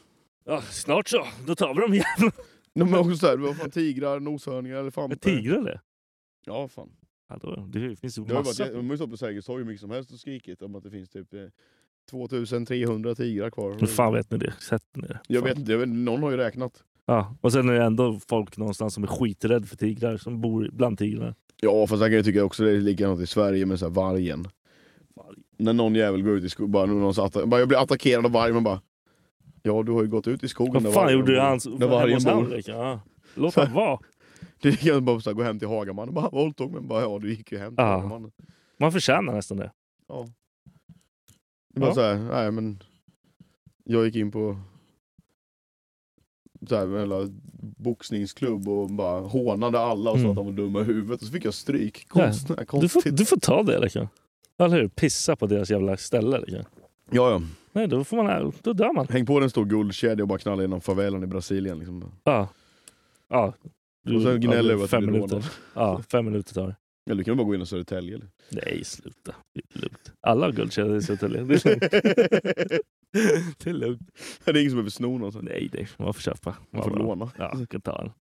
Speaker 6: Ja, snart så. Då tar vi dem igen.
Speaker 5: de är också så här, vad fan, tigrar, noshörningar, elefanter.
Speaker 6: Med tigrar eller?
Speaker 5: Ja fan.
Speaker 6: Ja, då, det finns ju
Speaker 5: Det har ju varit,
Speaker 6: massa.
Speaker 5: jä- de har ju stått på Sergels torg hur mycket som helst och skrikit om att det finns typ eh, 2300 tigrar kvar.
Speaker 6: Hur fan vet ni det? Sätt ner.
Speaker 5: Jag
Speaker 6: Fan.
Speaker 5: vet inte, jag vet, någon har ju räknat.
Speaker 6: Ja. Och sen är det ändå folk någonstans som är skiträdd för tigrar. Som bor bland tigrarna.
Speaker 5: Ja fast sen kan jag tycka också det är likadant i Sverige med så här vargen.
Speaker 6: Varg.
Speaker 5: När någon jävel går ut i skogen, bara, när någon så atta- bara jag blir attackerad av varg, man bara Ja du har ju gått ut i skogen
Speaker 6: Vad fan
Speaker 5: vargen
Speaker 6: gjorde
Speaker 5: bor."
Speaker 6: hans...
Speaker 5: Där vargen bor.
Speaker 6: Ja. Låt dem vara.
Speaker 5: Det är likadant bara så här, gå hem till Hagaman och bara våldtog men bara ja du gick ju hem till
Speaker 6: Ja.
Speaker 5: Hagamannen.
Speaker 6: Man förtjänar nästan det.
Speaker 5: Ja. Bara
Speaker 6: Ja.
Speaker 5: så här, nej men... Jag gick in på så här, en jävla boxningsklubb och bara hånade alla och sa
Speaker 6: Mm.
Speaker 5: att de var dumma i huvudet och så fick jag stryk. Konst, nej,
Speaker 6: Du
Speaker 5: konstigt.
Speaker 6: får, du får ta det. Liksom. Eller hur? Pissa på deras jävla ställe. Liksom.
Speaker 5: Ja, ja.
Speaker 6: Nej, då, får man, då dör man.
Speaker 5: Häng på den stor guldkedja och bara knalla genom favelan i Brasilien. Liksom.
Speaker 6: Ja. Ja. Du-
Speaker 5: Och sen gnäller
Speaker 6: ja,
Speaker 5: över att du
Speaker 6: fem
Speaker 5: blir
Speaker 6: minuter.
Speaker 5: rånad.
Speaker 6: Ja, fem minuter tar det.
Speaker 5: Eller du kan bara gå in i Södertälje. eller?
Speaker 6: Nej, sluta. Det är lugnt. Alla har guldkedjor i Södertälje. Det är lugnt. Det är lugnt.
Speaker 5: det är ingen som behöver sno något.
Speaker 6: Nej, det får man får köpa.
Speaker 5: Man får
Speaker 6: Ja, bra.
Speaker 5: låna.
Speaker 6: Ja, jag kan ta den.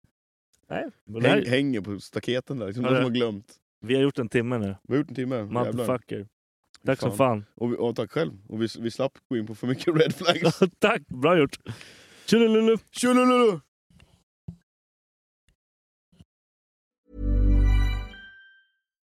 Speaker 6: Nej, men det
Speaker 5: Häng,
Speaker 6: här,
Speaker 5: hänger på staketen där. Liksom,
Speaker 6: Ja,
Speaker 5: någon
Speaker 6: det-
Speaker 5: som har glömt.
Speaker 6: vi har gjort en timme nu.
Speaker 5: Vi har gjort en timme. Jävlar.
Speaker 6: Motherfucker. Tack som
Speaker 5: Fan.
Speaker 6: fan.
Speaker 5: Och, vi, och tack själv. Och vi, vi slapp gå in på för mycket red flags.
Speaker 6: Tack, bra gjort. Tjolilulu.
Speaker 5: Tjolololo!